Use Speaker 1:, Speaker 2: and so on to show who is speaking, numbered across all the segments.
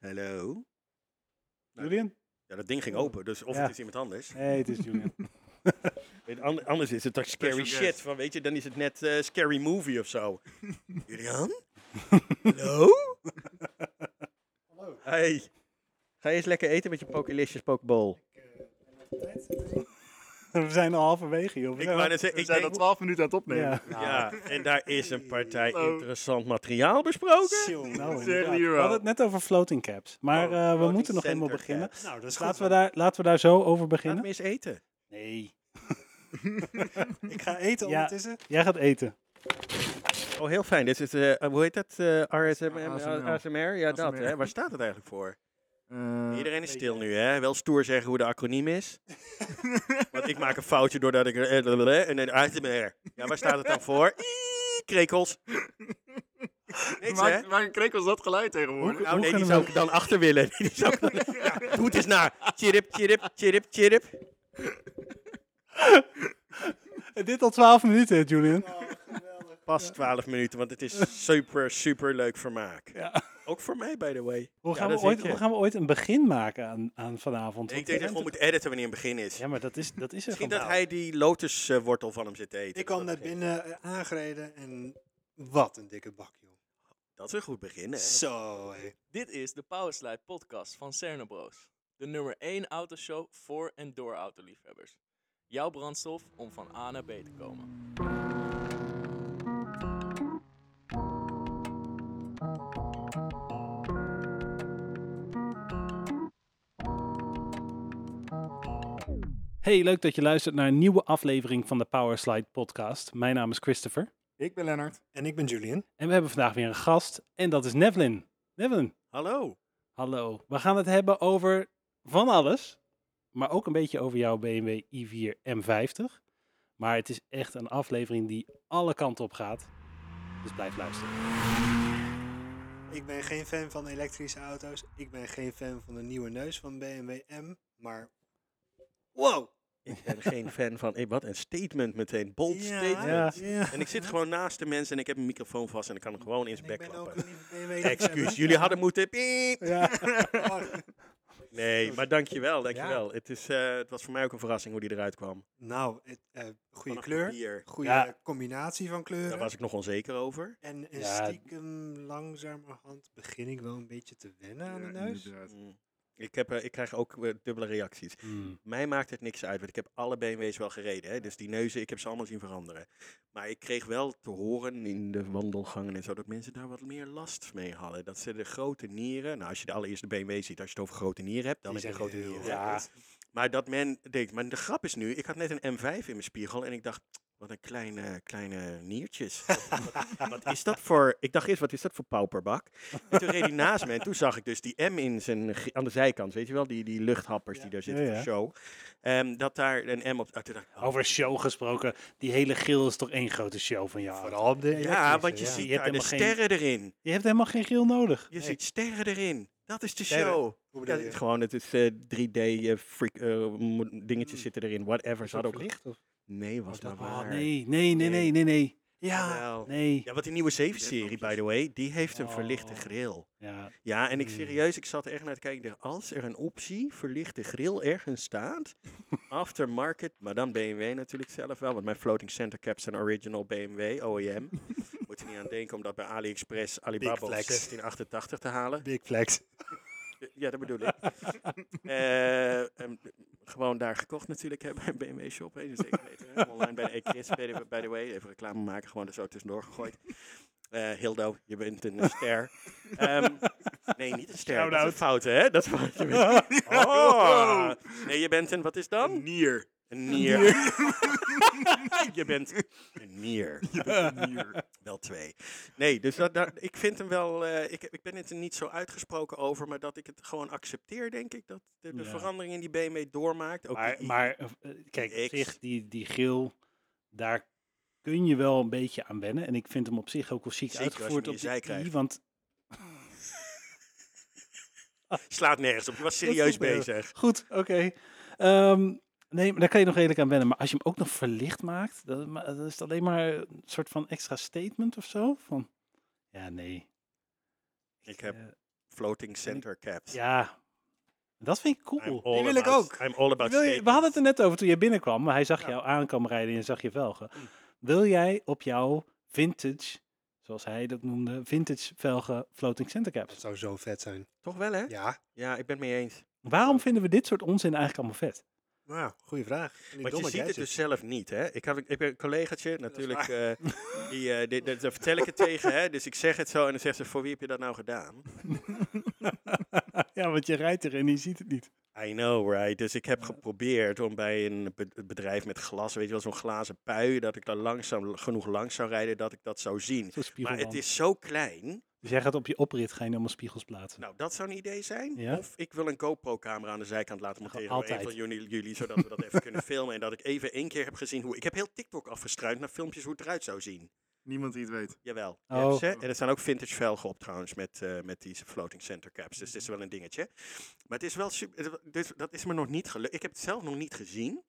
Speaker 1: Hallo?
Speaker 2: Julian?
Speaker 1: Ja, dat ding ging open, dus of
Speaker 2: Ja.
Speaker 1: het is iemand anders.
Speaker 2: Nee, het is Julian.
Speaker 1: Weet, an- anders is het toch scary
Speaker 3: Special
Speaker 1: shit.
Speaker 3: guest.
Speaker 1: Van, weet je, dan is het net eh, scary movie of zo. Julian? Hallo?
Speaker 4: Hallo.
Speaker 1: Hey. Ga je eens lekker eten met je Pokelicious Pokeball?
Speaker 2: We zijn al halverwege, joh.
Speaker 1: Ik wou net zeggen,
Speaker 3: We
Speaker 1: ik
Speaker 3: zijn al
Speaker 1: denk-
Speaker 3: 12 minuten aan het opnemen.
Speaker 2: Ja. nou,
Speaker 1: Ja, en daar is een partij
Speaker 3: Hallo.
Speaker 1: interessant materiaal besproken.
Speaker 2: Nou,
Speaker 3: Zeg
Speaker 2: inderdaad.
Speaker 3: hier
Speaker 2: we
Speaker 3: wel.
Speaker 2: hadden het net over floating caps. Maar
Speaker 1: Oh,
Speaker 2: eh, we
Speaker 1: floating
Speaker 2: moeten nog
Speaker 1: center
Speaker 2: eenmaal beginnen.
Speaker 1: caps.
Speaker 4: Nou, dat is goed.
Speaker 2: Laten we, daar, laten we daar zo over
Speaker 1: Laat
Speaker 2: beginnen.
Speaker 1: me eens eten.
Speaker 2: Nee.
Speaker 4: Ik ga eten
Speaker 2: Ja.
Speaker 4: ondertussen.
Speaker 2: Jij gaat eten.
Speaker 1: Oh, heel fijn. Dit is, eh, hoe heet dat? eh, RSM,
Speaker 3: ASMR.
Speaker 1: ASMR? Ja, dat.
Speaker 3: ASMR.
Speaker 1: Hè? Waar staat het eigenlijk voor?
Speaker 3: Eh,
Speaker 1: Iedereen is stil nu, hè? Wel stoer zeggen hoe de acroniem is. Want ik maak een foutje doordat ik... er- eh, En dan ASMR. Ja, waar staat het dan voor? Ii, Krekels. Niks, hè?
Speaker 3: maak, maak een krekel als dat geluid tegenwoordig.
Speaker 1: Nou, nee,
Speaker 2: kunnen
Speaker 1: die
Speaker 2: we-
Speaker 1: zou ik dan achter willen. Die zou ik dan, ja, doe het eens naar. Chirip, chirip, chirip, chirip.
Speaker 2: En dit al 12 minuten, Julian.
Speaker 1: Oh. Pas 12 minuten, want het is super, super leuk vermaak.
Speaker 2: Ja.
Speaker 1: Ook voor mij, by the way.
Speaker 2: Hoe,
Speaker 1: Ja,
Speaker 2: gaan
Speaker 1: dat
Speaker 2: we ooit,
Speaker 1: zit je.
Speaker 2: hoe gaan we ooit een begin maken aan, aan vanavond?
Speaker 1: Ik denk
Speaker 2: Want we
Speaker 1: dat we
Speaker 2: zijn
Speaker 1: moet editen wanneer een begin is.
Speaker 2: te- Ja, maar dat is, dat is er
Speaker 1: Misschien dat
Speaker 2: gewoon.
Speaker 1: hij die lotuswortel van hem zit te eten.
Speaker 4: Ik kwam
Speaker 1: Dat
Speaker 4: net
Speaker 1: begint.
Speaker 4: binnen eh, aangereden en wat een dikke bak, joh.
Speaker 1: Dat is een goed begin, hè?
Speaker 4: Zo, hé.
Speaker 5: Dit is de Powerslide podcast van Cernobro's. De nummer 1 autoshow voor en door autoliefhebbers. Jouw brandstof om van A naar B te komen.
Speaker 2: Hey, leuk dat je luistert naar een nieuwe aflevering van de Powerslide podcast. Mijn naam is Christopher.
Speaker 3: Ik ben Lennart.
Speaker 4: En ik ben Julian.
Speaker 2: En we hebben vandaag weer een gast. En dat is Nevlin. Nevlin,
Speaker 1: Hallo.
Speaker 2: hallo. We gaan het hebben over van alles. Maar ook een beetje over jouw BMW i4 M50. Maar het is echt een aflevering die alle kanten op gaat. Dus blijf luisteren.
Speaker 4: Ik ben geen fan van elektrische auto's. Ik ben geen fan van de nieuwe neus van BMW M. Maar, wow.
Speaker 1: Ik ben geen fan van... eh, Wat een statement meteen. Bold statement.
Speaker 2: Ja.
Speaker 1: En ik zit gewoon naast de mensen en ik heb een microfoon vast en ik kan hem gewoon in zijn
Speaker 4: ik
Speaker 1: bek
Speaker 4: ben ook
Speaker 1: klappen.
Speaker 4: een nieuwe BMW
Speaker 1: Excuus, jullie hadden moeten... piep.
Speaker 2: Ja.
Speaker 4: Oh,
Speaker 1: Nee, maar dankjewel, dankjewel.
Speaker 4: Ja.
Speaker 1: Het, is, eh, het was voor mij ook een verrassing hoe die eruit kwam.
Speaker 4: Nou, het, eh, goede
Speaker 1: Vanaf
Speaker 4: kleur.
Speaker 1: Hier.
Speaker 4: Goede
Speaker 2: Ja.
Speaker 4: combinatie van kleuren.
Speaker 1: Daar was ik nog onzeker over.
Speaker 4: En, en
Speaker 2: Ja.
Speaker 4: stiekem langzamerhand begin ik wel een beetje te wennen aan de
Speaker 3: Ja,
Speaker 4: neus.
Speaker 3: inderdaad.
Speaker 1: Mm. Ik, heb, eh, ik krijg ook eh, dubbele reacties.
Speaker 2: Hmm.
Speaker 1: Mij maakt het niks uit, want ik heb alle BMW's wel gereden. Hè? Dus die neuzen, ik heb ze allemaal zien veranderen. Maar ik kreeg wel te horen in de wandelgangen en zo dat mensen daar wat meer last mee hadden. Dat ze de grote nieren, nou als je de allereerste BMW ziet, als je het over grote nieren hebt, dan
Speaker 4: Die
Speaker 1: heb je
Speaker 4: zijn
Speaker 1: grote
Speaker 4: heel
Speaker 1: nieren.
Speaker 2: Ja.
Speaker 1: Maar dat men denkt, maar de grap is nu, ik had net een M5 in mijn spiegel en ik dacht, wat een kleine, kleine niertjes. Wat- wat, wat is dat voor, ik dacht eerst, wat is dat voor pauperbak? En toen reed hij naast me en toen zag ik dus die M in zijn, ge- aan de zijkant, weet je wel, die, die luchthappers die daar zitten
Speaker 2: Ja,
Speaker 1: voor
Speaker 2: ja.
Speaker 1: show. Ehm, dat daar een M op, ah, toen dacht ik, oh,
Speaker 2: Over show gesproken. Die hele grill is toch één grote show van jou?
Speaker 4: Vooral op de
Speaker 1: ja, want je
Speaker 2: ja.
Speaker 1: ziet
Speaker 2: Je hebt
Speaker 1: daar de
Speaker 2: helemaal geen-
Speaker 1: sterren erin.
Speaker 2: Je hebt helemaal geen grill nodig.
Speaker 1: Je ziet sterren erin. Dat is de
Speaker 4: Sterren.
Speaker 1: show.
Speaker 4: Hoe
Speaker 1: Ja,
Speaker 4: bedoel
Speaker 1: het is
Speaker 4: je?
Speaker 1: gewoon, het is eh, 3D eh, freak, eh, mo- dingetjes
Speaker 4: Mm.
Speaker 1: zitten erin, whatever. Ze hadden ook,
Speaker 2: licht? Of?
Speaker 1: nee, was
Speaker 4: Oh, dat
Speaker 1: dat
Speaker 4: was-
Speaker 2: Oh,
Speaker 1: waar.
Speaker 2: nee, nee, nee, nee, nee, nee. Ja,
Speaker 1: Jawel.
Speaker 2: nee.
Speaker 1: Ja, want die nieuwe 7-serie, by the way, die heeft een verlichte
Speaker 2: Oh.
Speaker 1: grill.
Speaker 2: Ja,
Speaker 1: Ja, en ik
Speaker 4: Hmm.
Speaker 1: serieus, ik zat er echt naar te kijken. ik dacht, Als er een optie verlichte grill ergens staat, aftermarket, maar dan BMW natuurlijk zelf wel. Want mijn floating center caps zijn original BMW, OEM. E Moet je niet aan denken om dat bij AliExpress Alibaba op
Speaker 4: flex.
Speaker 1: 1688 te halen.
Speaker 4: Big flex.
Speaker 1: Ja, dat bedoel ik. Eh, ehm, gewoon daar gekocht natuurlijk, hè, bij BMW Shop. Hè, dus zeker weten, hè. Online bij de E-Chris, by, the- by the way. Even reclame maken, gewoon er zo tussendoor gegooid. Eh, Hildo, je bent een ster. Ehm, nee, niet een ster. Dat is een fout, hè? Dat is fout. Je bent- Oh. Nee, je bent een, wat is dan?
Speaker 3: Nier.
Speaker 1: Een nier. je bent een nier.
Speaker 3: Nier.
Speaker 1: Wel twee. Nee, dus dat, dat- ik vind hem wel. eh, ik, ik ben het er niet zo uitgesproken over, maar dat ik het gewoon accepteer, denk ik. Dat de, de
Speaker 2: Ja.
Speaker 1: verandering in die BMW doormaakt. Ook
Speaker 2: maar,
Speaker 1: die-
Speaker 2: maar eh, kijk, op
Speaker 1: X.
Speaker 2: zich, die, die grill, daar kun je wel een beetje aan wennen. En ik vind hem op zich ook wel chic
Speaker 1: Zeker als je
Speaker 2: uitgevoerd
Speaker 1: hem in
Speaker 2: op
Speaker 1: je zij
Speaker 2: de i,
Speaker 1: krijgt.
Speaker 2: want
Speaker 1: slaat nergens op. Je was serieus
Speaker 2: Dat is- eh,
Speaker 1: bezig.
Speaker 2: goed, oké. Ehm, nee, maar daar kan je nog redelijk aan wennen. Maar als je hem ook nog verlicht maakt, dat, ma- dat is alleen maar een soort van extra statement of zo. Van, ja, nee.
Speaker 1: Ik heb
Speaker 2: eh,
Speaker 1: floating center caps.
Speaker 2: Ja, dat vind ik cool.
Speaker 1: I'm all
Speaker 4: wil ik
Speaker 1: about-
Speaker 4: ook.
Speaker 1: I'm all about
Speaker 2: Wil je- we
Speaker 1: statements.
Speaker 2: hadden het er net over toen je binnenkwam, maar hij zag jou aankomen rijden en je zag je velgen. Wil jij op jouw vintage, zoals hij dat noemde, vintage velgen floating center
Speaker 4: Dat
Speaker 2: caps?
Speaker 4: zou zo vet zijn.
Speaker 1: Toch wel, hè? Ja,
Speaker 4: Ja.
Speaker 1: ik ben het mee eens.
Speaker 2: Waarom vinden we dit soort onzin eigenlijk allemaal vet?
Speaker 4: Nou, goede vraag. Van die
Speaker 1: Want je
Speaker 4: domme
Speaker 1: ziet het dus
Speaker 4: gadgets.
Speaker 1: zelf niet, hè? Ik, heb, ik heb een collegaatje, natuurlijk, eh, die, eh, dit- dit- daar vertel ik het tegen, hè? Dus ik zeg het zo en dan zegt ze, voor wie heb je dat nou gedaan?
Speaker 2: ja, want je rijdt er en je ziet het niet.
Speaker 1: I know, right? Dus ik heb geprobeerd om bij een be- bedrijf met glas, weet je wel, zo'n glazen pui, dat ik daar langzaam, genoeg langs zou rijden dat ik dat zou zien.
Speaker 2: Zo'n
Speaker 1: Maar het
Speaker 2: spiegelwand.
Speaker 1: is zo klein.
Speaker 2: Dus jij gaat op je oprit, ga je allemaal spiegels plaatsen.
Speaker 1: Nou, dat zou een idee zijn.
Speaker 2: Ja.
Speaker 1: Of ik wil een GoPro-camera aan de zijkant laten monteren door een
Speaker 2: altijd.
Speaker 1: van jullie, jullie, zodat we dat even kunnen filmen. En dat ik even één keer heb gezien hoe... Ik heb heel TikTok afgestruind naar filmpjes hoe het eruit zou zien.
Speaker 3: Niemand die het weet.
Speaker 1: Jawel.
Speaker 2: Oh.
Speaker 1: Je hebt ze. En er staan ook vintage velgen op trouwens met, eh, met die floating center caps. Dus
Speaker 2: Mhm.
Speaker 1: dit is wel een dingetje. Maar het is wel super... Dus dat is me nog niet gelukt. Ik heb het zelf nog niet gezien.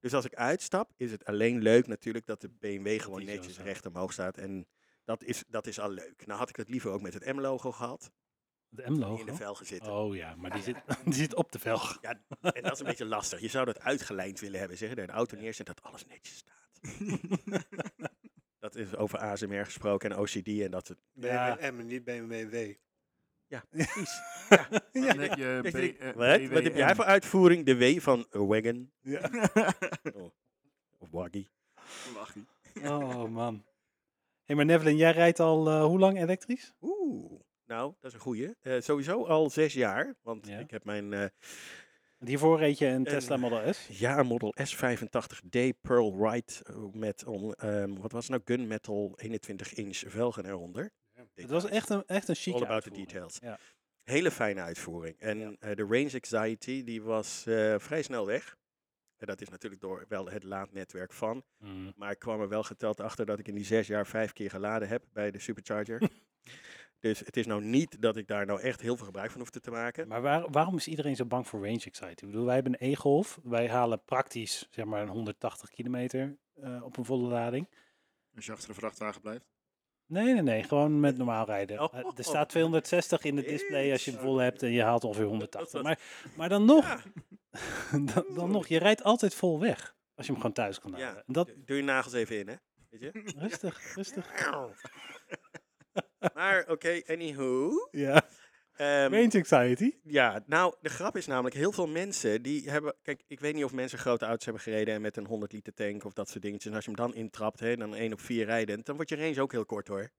Speaker 1: Dus als ik uitstap, is het alleen leuk natuurlijk dat de BMW gewoon
Speaker 2: die zo
Speaker 1: netjes
Speaker 2: staat.
Speaker 1: recht omhoog staat. En dat is, dat is al leuk. Nou had ik het liever ook met het M-logo gehad.
Speaker 2: De
Speaker 1: Die in de
Speaker 2: M-logo.
Speaker 1: velgen zitten.
Speaker 2: Oh ja, maar die zit, die zit op de velg.
Speaker 1: En dat is een beetje lastig. Je zou dat uitgelijnd willen hebben. Zeggen, dat je de auto neerzet dat alles netjes staat. dat is over ASMR gesproken en OCD en dat het...
Speaker 2: Ja.
Speaker 4: BMW M en niet BMW W.
Speaker 1: Precies.
Speaker 3: Dan heb je
Speaker 1: Wat,
Speaker 3: B- eh,
Speaker 1: wat heb jij
Speaker 3: BWM.
Speaker 1: voor uitvoering? De W van Wagon Oh, of Waggy?
Speaker 3: Lachie.
Speaker 2: Oh man. Hé, maar Nevelin, jij rijdt al eh, hoe lang elektrisch?
Speaker 1: Oeh. Nou, dat is een goeie. Eh, sowieso al zes jaar, want
Speaker 2: Ja.
Speaker 1: ik heb mijn eh,
Speaker 2: Want Hiervoor reed je een Tesla Model S.
Speaker 1: ja Model S85D Pearl White eh, met, on- ehm, wat was het nou, gunmetal 21 inch velgen eronder.
Speaker 2: Het was echt een, echt een chique
Speaker 1: All about the
Speaker 2: uitvoering.
Speaker 1: details.
Speaker 2: Ja.
Speaker 1: Hele fijne uitvoering. En eh, de range anxiety die was eh, vrij snel weg. En dat is natuurlijk door wel het laadnetwerk van.
Speaker 2: Mm.
Speaker 1: Maar ik kwam er wel geteld achter dat ik in die zes jaar vijf keer geladen heb bij de supercharger. dus het is nou niet dat ik daar nou echt heel veel gebruik van hoefde te maken.
Speaker 2: Maar waar- waarom is iedereen zo bang voor range anxiety? Ik bedoel, wij hebben een e-golf. Wij halen praktisch zeg maar een 180 kilometer eh, op een volle lading.
Speaker 3: Als je achter de vrachtwagen blijft.
Speaker 2: Nee, nee, nee. Gewoon met normaal rijden.
Speaker 1: Oh.
Speaker 2: Eh, Er staat 260 in het display als je hem vol hebt en je haalt ongeveer 180.
Speaker 1: was-
Speaker 2: Maar, maar dan nog, dan, dan nog, je rijdt altijd vol weg. Als je hem gewoon thuis kan halen.
Speaker 1: Ja,
Speaker 2: En Dat,
Speaker 1: d- doe je nagels even in, hè? Weet je?
Speaker 2: rustig, rustig.
Speaker 1: maar oké, anywho.
Speaker 2: Ja.
Speaker 1: Ehm,
Speaker 2: Range anxiety.
Speaker 1: Ja, nou, de grap is namelijk, heel veel mensen die hebben... Kijk, ik weet niet of mensen grote auto's hebben gereden en met een 100 liter tank of dat soort dingetjes. En als je hem dan intrapt, hè, dan 1 op 4 rijdend, dan wordt je range ook heel kort, hoor.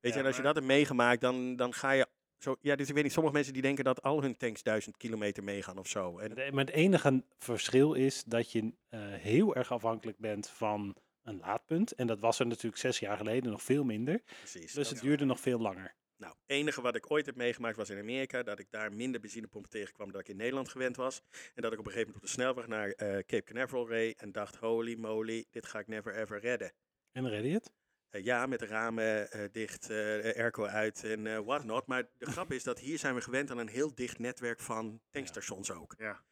Speaker 1: Weet je, en als je dat hebt meegemaakt, dan, dan ga je... Zo, ja, dus ik weet niet, sommige mensen die denken dat al hun tanks 1000 kilometer meegaan of zo. En
Speaker 2: Het- e-, Maar het enige verschil is dat je eh, heel erg afhankelijk bent van een laadpunt. En dat was er natuurlijk zes jaar geleden nog veel minder.
Speaker 1: precies. dat-
Speaker 2: Dus het duurde nog veel langer.
Speaker 1: Nou, het enige wat ik ooit heb meegemaakt was in Amerika. Dat ik daar minder benzinepompen tegenkwam dan ik in Nederland gewend was. En dat ik op een gegeven moment op de snelweg naar eh, Cape Canaveral reed. En dacht, holy moly, dit ga ik never ever redden.
Speaker 2: En redde je het?
Speaker 1: Eh, ja, met de ramen eh, dicht, eh airco uit en eh what not. Maar de grap is dat hier zijn we gewend aan een heel dicht netwerk van tankstations ook.
Speaker 3: Ja.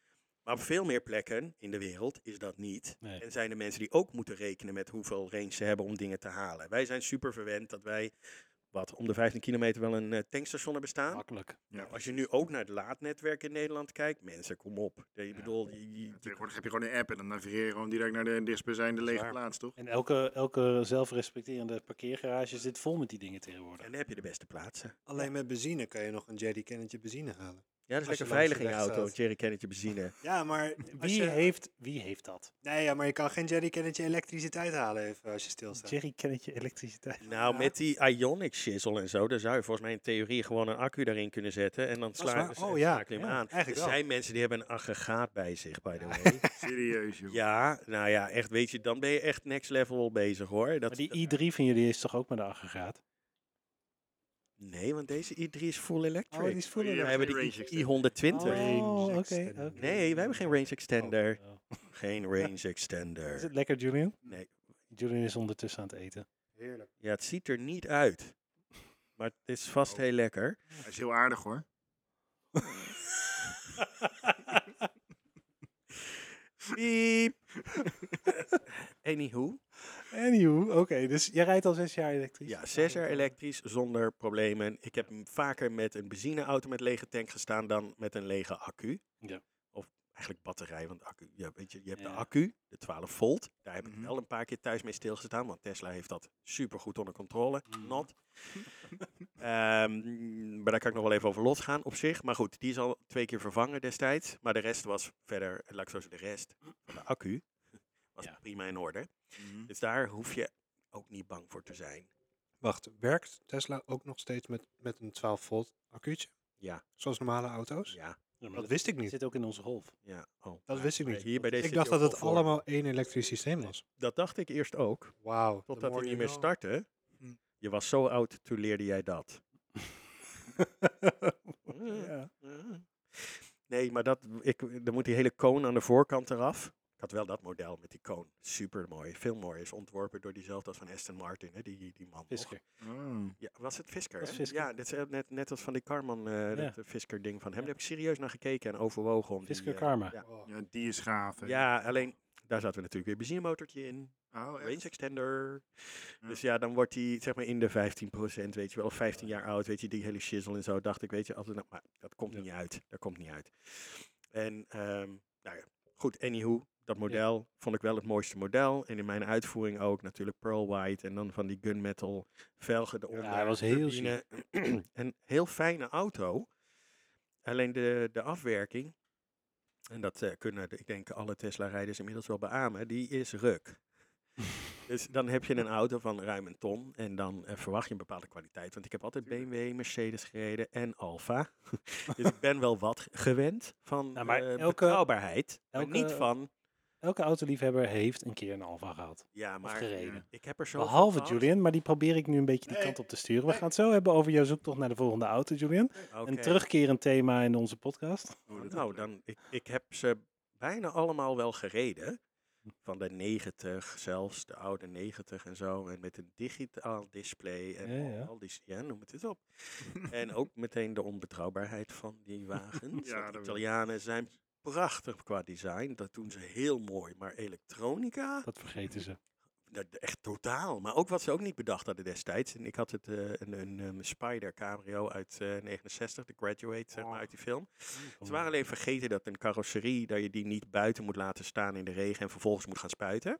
Speaker 1: Maar op veel meer plekken in de wereld is dat niet.
Speaker 2: Nee.
Speaker 1: En zijn er mensen die ook moeten rekenen met hoeveel range ze hebben om dingen te halen. Wij zijn super verwend dat wij, wat, om de 15 kilometer wel een eh, tankstation hebben staan.
Speaker 2: Makkelijk.
Speaker 1: Nou, als je nu ook naar het laadnetwerk in Nederland kijkt, mensen, kom op. Ik bedoel, je- je-
Speaker 3: Tegenwoordig heb je gewoon een app en dan navigeer je gewoon direct naar de dichtstbijzijnde lege plaats, toch?
Speaker 2: En elke, elke zelfrespecterende parkeergarage zit vol met die dingen tegenwoordig.
Speaker 1: en dan heb je de beste plaatsen.
Speaker 4: Alleen met benzine kan je nog een jerrycannetje benzine halen.
Speaker 1: Ja, dat is
Speaker 4: Als je
Speaker 1: lekker
Speaker 4: langs de
Speaker 1: veilig in je
Speaker 4: weg
Speaker 1: auto,
Speaker 4: staat.
Speaker 1: een jerrycannetje benzine.
Speaker 4: Ja, maar als
Speaker 2: Wie
Speaker 4: je,
Speaker 2: heeft, wie heeft dat?
Speaker 4: nee, ja, maar je kan geen jerrycannetje elektriciteit halen even als je stilstaat.
Speaker 2: Jerry kennetje elektriciteit.
Speaker 1: Nou,
Speaker 4: Ja.
Speaker 1: met die ionic shizzle en zo, daar zou je volgens mij in theorie gewoon een accu daarin kunnen zetten. En dan
Speaker 4: Dat is
Speaker 1: sla,
Speaker 4: waar.
Speaker 1: sla-
Speaker 4: Oh, ja.
Speaker 1: schakel je hem
Speaker 2: Ja,
Speaker 1: aan. Er
Speaker 4: Eigenlijk wel.
Speaker 1: zijn mensen die hebben een aggregaat bij zich, by the way.
Speaker 3: Serieus, joh.
Speaker 1: ja, nou ja, echt, weet je, dan ben je echt next level bezig hoor. Dat,
Speaker 2: Maar die i3 van jullie is toch ook met een aggregaat?
Speaker 1: nee, want deze i3 is full electric.
Speaker 2: Oh, die is full
Speaker 3: Jullie
Speaker 1: wij
Speaker 2: electric.
Speaker 1: hebben
Speaker 3: geen range
Speaker 1: de I-
Speaker 3: extender.
Speaker 1: i120.
Speaker 2: Oh, oké.
Speaker 4: extender.
Speaker 2: oké.
Speaker 1: Nee, wij hebben geen range extender.
Speaker 2: Oh, oh.
Speaker 1: Geen range
Speaker 2: Is
Speaker 1: extender.
Speaker 2: het lekker, Julian?
Speaker 1: Nee.
Speaker 2: Julian is ondertussen aan het eten.
Speaker 4: Heerlijk.
Speaker 1: Ja, het ziet er niet uit. Maar het is vast
Speaker 3: Oh.
Speaker 1: heel lekker.
Speaker 3: Hij is heel aardig, hoor.
Speaker 1: Piep. Anywho.
Speaker 2: Anywho, oké. dus jij rijdt al zes jaar elektrisch?
Speaker 1: Ja, 6 jaar elektrisch zonder problemen. Ik heb m- vaker met een benzineauto met lege tank gestaan dan met een lege accu.
Speaker 2: Ja.
Speaker 1: Of eigenlijk batterij, want accu, ja, weet je, je hebt
Speaker 2: Ja.
Speaker 1: de accu, de 12 volt. Daar heb ik
Speaker 3: Mhm.
Speaker 1: wel een paar keer thuis mee stilgestaan, want Tesla heeft dat super goed onder controle.
Speaker 2: Mhm.
Speaker 1: Not. Ehm, maar daar kan ik nog wel even over losgaan op zich. Maar goed, die is al twee keer vervangen destijds. Maar de rest was verder, laat ik zo zeggen, de rest van de accu was
Speaker 2: Ja.
Speaker 1: prima in orde.
Speaker 3: Mhm.
Speaker 1: Dus daar hoef je ook niet bang voor te zijn.
Speaker 4: Wacht, werkt Tesla ook nog steeds met, met een 12 volt accuutje?
Speaker 1: Ja.
Speaker 4: Zoals normale auto's?
Speaker 1: Ja,
Speaker 2: Ja, maar
Speaker 4: Dat
Speaker 2: dat
Speaker 4: wist ik niet.
Speaker 2: zit ook in onze golf.
Speaker 1: ja. Oh.
Speaker 4: Dat wist ik niet.
Speaker 1: Hier bij deze
Speaker 4: Ik
Speaker 1: zit
Speaker 4: dacht
Speaker 1: hij
Speaker 4: dat
Speaker 1: ook
Speaker 4: het
Speaker 1: al voor.
Speaker 4: allemaal één elektrisch systeem was.
Speaker 1: Dat dacht ik eerst ook,
Speaker 4: Wauw.
Speaker 1: totdat hij niet meer
Speaker 4: start.
Speaker 1: startte.
Speaker 4: Hm.
Speaker 1: Je was zo oud, toen leerde jij dat.
Speaker 2: ja.
Speaker 1: Nee, maar dat, ik, dan moet die hele koon aan de voorkant eraf. Ik had wel dat model met die koon. Super mooi. Veel mooi. Is ontworpen door diezelfde als van Aston Martin, hè? Die, die man. nog.
Speaker 2: Fisker.
Speaker 3: Oh.
Speaker 1: Ja, was het Fisker?
Speaker 2: Was
Speaker 1: hè?
Speaker 2: Fisker.
Speaker 1: Ja, dit is eh, net, net als van die Karman, eh
Speaker 2: Ja.
Speaker 1: dat eh, Fisker-ding van hem.
Speaker 2: Ja.
Speaker 1: Daar heb ik serieus naar gekeken en overwogen. Om die,
Speaker 2: Fisker
Speaker 1: eh,
Speaker 2: Karma.
Speaker 1: ja.
Speaker 4: Oh.
Speaker 3: Ja, die is gaaf. hè.
Speaker 1: ja, alleen daar zaten we natuurlijk weer een benzinemotortje in.
Speaker 3: Oh,
Speaker 1: range
Speaker 3: echt?
Speaker 1: extender.
Speaker 3: Ja.
Speaker 1: Dus ja, dan wordt hij zeg maar in de 15%, weet je wel, of 15 jaar oud, weet je, die hele shizzle en zo. Dacht ik, weet je, altijd, nou, maar dat komt
Speaker 2: Ja.
Speaker 1: niet uit. Dat komt niet uit. En ehm, nou ja, goed, anywho, dat model vond ik wel het mooiste model. En in mijn uitvoering ook natuurlijk Pearl White en dan van die gunmetal velgen eronder.
Speaker 2: hij was heel
Speaker 1: turbine. eh, Een heel fijne auto. Alleen de, de afwerking, en dat eh, kunnen, de- ik denk, alle Tesla-rijders inmiddels wel beamen, die is ruk. Dus dan heb je een auto van ruim een ton en dan eh, verwacht je een bepaalde kwaliteit. Want ik heb altijd BMW, Mercedes gereden en Alfa. dus ik ben wel wat gewend van
Speaker 2: Nou, maar
Speaker 1: eh,
Speaker 2: elke-
Speaker 1: betrouwbaarheid.
Speaker 2: elke-
Speaker 1: maar niet van,
Speaker 2: Elke autoliefhebber heeft een keer een Alfa gehad.
Speaker 1: ja,
Speaker 2: Of
Speaker 1: maar eh,
Speaker 2: gereden.
Speaker 1: ik heb er zo
Speaker 2: Behalve Julian, maar die probeer ik nu een beetje die
Speaker 4: Nee,
Speaker 2: kant op te sturen. We
Speaker 4: nee.
Speaker 2: gaan het zo hebben over jouw zoektocht naar de volgende auto, Julian. Een terugkerend thema in onze podcast.
Speaker 3: Oh, dat-
Speaker 1: Nou, dan, ik, ik heb ze bijna allemaal wel gereden.
Speaker 3: Hm.
Speaker 1: Van de 90 zelfs, de oude 90 en zo. En met een digitaal display en
Speaker 2: Ja, ja.
Speaker 1: al die... Ja, noem het eens op. en ook meteen de onbetrouwbaarheid van die wagens.
Speaker 3: Ja,
Speaker 1: Want
Speaker 3: dat-
Speaker 1: Italianen zijn prachtig qua design. Dat doen ze heel mooi. Maar elektronica?
Speaker 2: Dat vergeten ze.
Speaker 1: Dat- Echt totaal. Maar ook wat ze ook niet bedacht hadden destijds. En ik had het, eh, een, een, ehm, Spider Cabrio uit eh, 69, The Graduate, zeg maar, uit die film. Ze waren alleen vergeten dat een carrosserie, dat je die niet buiten moet laten staan in de regen en vervolgens moet gaan spuiten.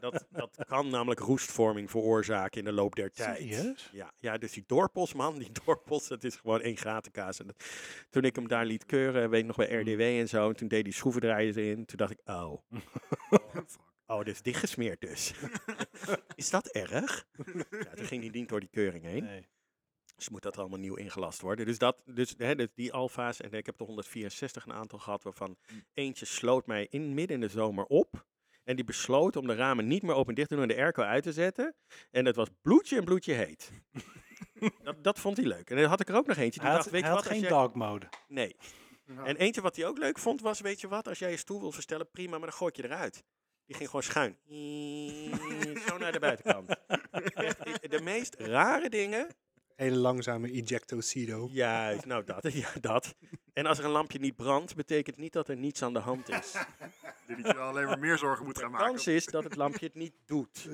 Speaker 1: dat, dat kan namelijk roestvorming veroorzaken in de loop der tijd.
Speaker 2: Serieus?
Speaker 1: Ja, ja, dus die dorpels, man, die dorpels, dat is gewoon één gatenkaas. En dat- toen ik hem daar liet keuren, weet ik nog bij RDW en zo, en toen deed die schroevendraaiers in, toen dacht ik, oh,
Speaker 3: Fuck.
Speaker 1: oh, dit is dichtgesmeerd dus. is dat erg? Ja, toen ging die niet door die keuring heen.
Speaker 2: Nee.
Speaker 1: Dus moet dat allemaal nieuw ingelast worden. Dus, dat, dus hè, dus die alfa's, en ik heb er 164 een aantal gehad, waarvan
Speaker 2: Hm.
Speaker 1: eentje sloot mij in midden in de zomer op. En die besloot om de ramen niet meer open en dicht te doen en de airco uit te zetten. En dat was bloedje en bloedje heet. dat, dat vond hij leuk. En dan had ik er ook nog eentje. Die
Speaker 2: Hij had,
Speaker 1: dacht, weet
Speaker 2: hij
Speaker 1: je
Speaker 2: had
Speaker 1: wat, als
Speaker 2: geen
Speaker 1: jij-
Speaker 2: dark mode.
Speaker 1: Nee. En eentje wat hij ook leuk vond was, weet je wat, als jij je stoel wil verstellen, prima, maar dan gooi ik je eruit. Die ging gewoon schuin. Zo naar de buitenkant. Echt, ik- de meest rare dingen.
Speaker 4: Hele langzame ejectocido.
Speaker 1: Juist, nou dat, ja, dat. En als er een lampje niet brandt, betekent niet dat er niets aan de hand is.
Speaker 3: Die je wel alleen maar meer zorgen moet gaan
Speaker 1: De
Speaker 3: maken.
Speaker 1: kans is dat het lampje het niet doet.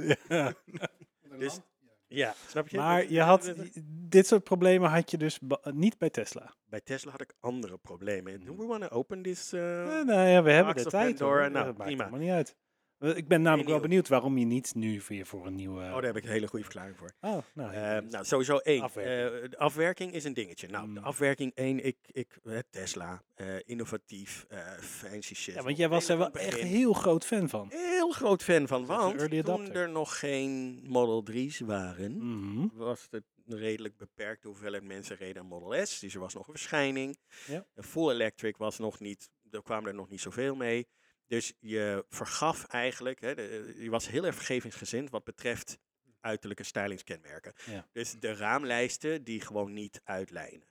Speaker 1: Dus, ja, snap je? Dus
Speaker 2: Maar
Speaker 1: Dat-
Speaker 2: je had, dit soort problemen had je dus ba- niet bij Tesla.
Speaker 1: Bij Tesla had ik andere problemen. Do we want to open this? eh,
Speaker 2: Hmm. Eh, nou ja, we hebben
Speaker 1: Box
Speaker 2: de
Speaker 1: of
Speaker 2: tijd hoor.
Speaker 1: Pandora,
Speaker 2: Dat
Speaker 1: nou,
Speaker 2: maakt
Speaker 1: prima.
Speaker 2: helemaal niet uit. Eh, Ik ben namelijk wel
Speaker 1: Anywho.
Speaker 2: benieuwd waarom je niet nu weer voor een nieuwe... eh,
Speaker 1: Oh, daar heb ik een hele goede verklaring voor.
Speaker 2: Oh, nou,
Speaker 1: Eh, nou, sowieso één.
Speaker 2: Afwerking.
Speaker 1: Eh, de afwerking is een dingetje. Nou, de
Speaker 2: Mm.
Speaker 1: afwerking één, ik, ik, eh, Tesla, eh, innovatief, eh, fancy shit.
Speaker 2: ja, want jij was er wel echt
Speaker 1: heel
Speaker 2: heel groot fan van.
Speaker 1: heel groot fan van.
Speaker 2: Dat is een
Speaker 1: Want
Speaker 2: early
Speaker 1: toen
Speaker 2: adapter.
Speaker 1: er nog geen Model 3's waren,
Speaker 2: Mhm.
Speaker 1: was het een redelijk beperkt de hoeveelheid mensen reden aan Model S. Dus er was nog een verschijning.
Speaker 2: Ja.
Speaker 1: Een Full electric was nog niet, er kwamen er nog niet zoveel mee. Dus je vergaf eigenlijk, hè, de- je was heel erg vergevingsgezind wat betreft uiterlijke stylingskenmerken.
Speaker 2: Ja.
Speaker 1: Dus de raamlijsten die gewoon niet uitlijnen.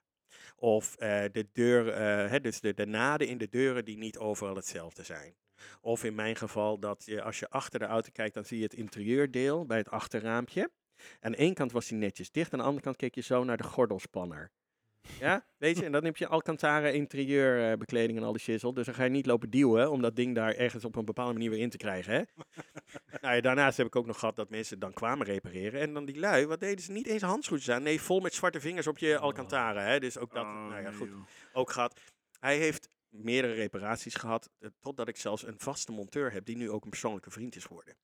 Speaker 1: Of eh, de deur, eh, hè, dus de, de naden in de deuren die niet overal hetzelfde zijn. Of in mijn geval dat je, als je achter de auto kijkt, dan zie je het interieurdeel bij het achterraampje. Aan de ene kant was hij netjes dicht, aan de andere kant keek je zo naar de gordelspanner. Ja, weet je, en dan heb je Alcantara interieur eh, bekleding en al die shizzle. Dus dan ga je niet lopen duwen om dat ding daar ergens op een bepaalde manier weer in te krijgen. Hè? nou ja, daarnaast heb ik ook nog gehad dat mensen het dan kwamen repareren. En dan die lui, wat deden ze? Niet eens handschoentjes aan. Nee, vol met zwarte vingers op je Alcantara. Hè? Dus ook dat,
Speaker 3: Oh,
Speaker 1: nou ja,
Speaker 3: nee,
Speaker 1: goed,
Speaker 3: joh.
Speaker 1: ook gehad. Hij heeft meerdere reparaties gehad, eh, totdat ik zelfs een vaste monteur heb die nu ook een persoonlijke vriend is geworden.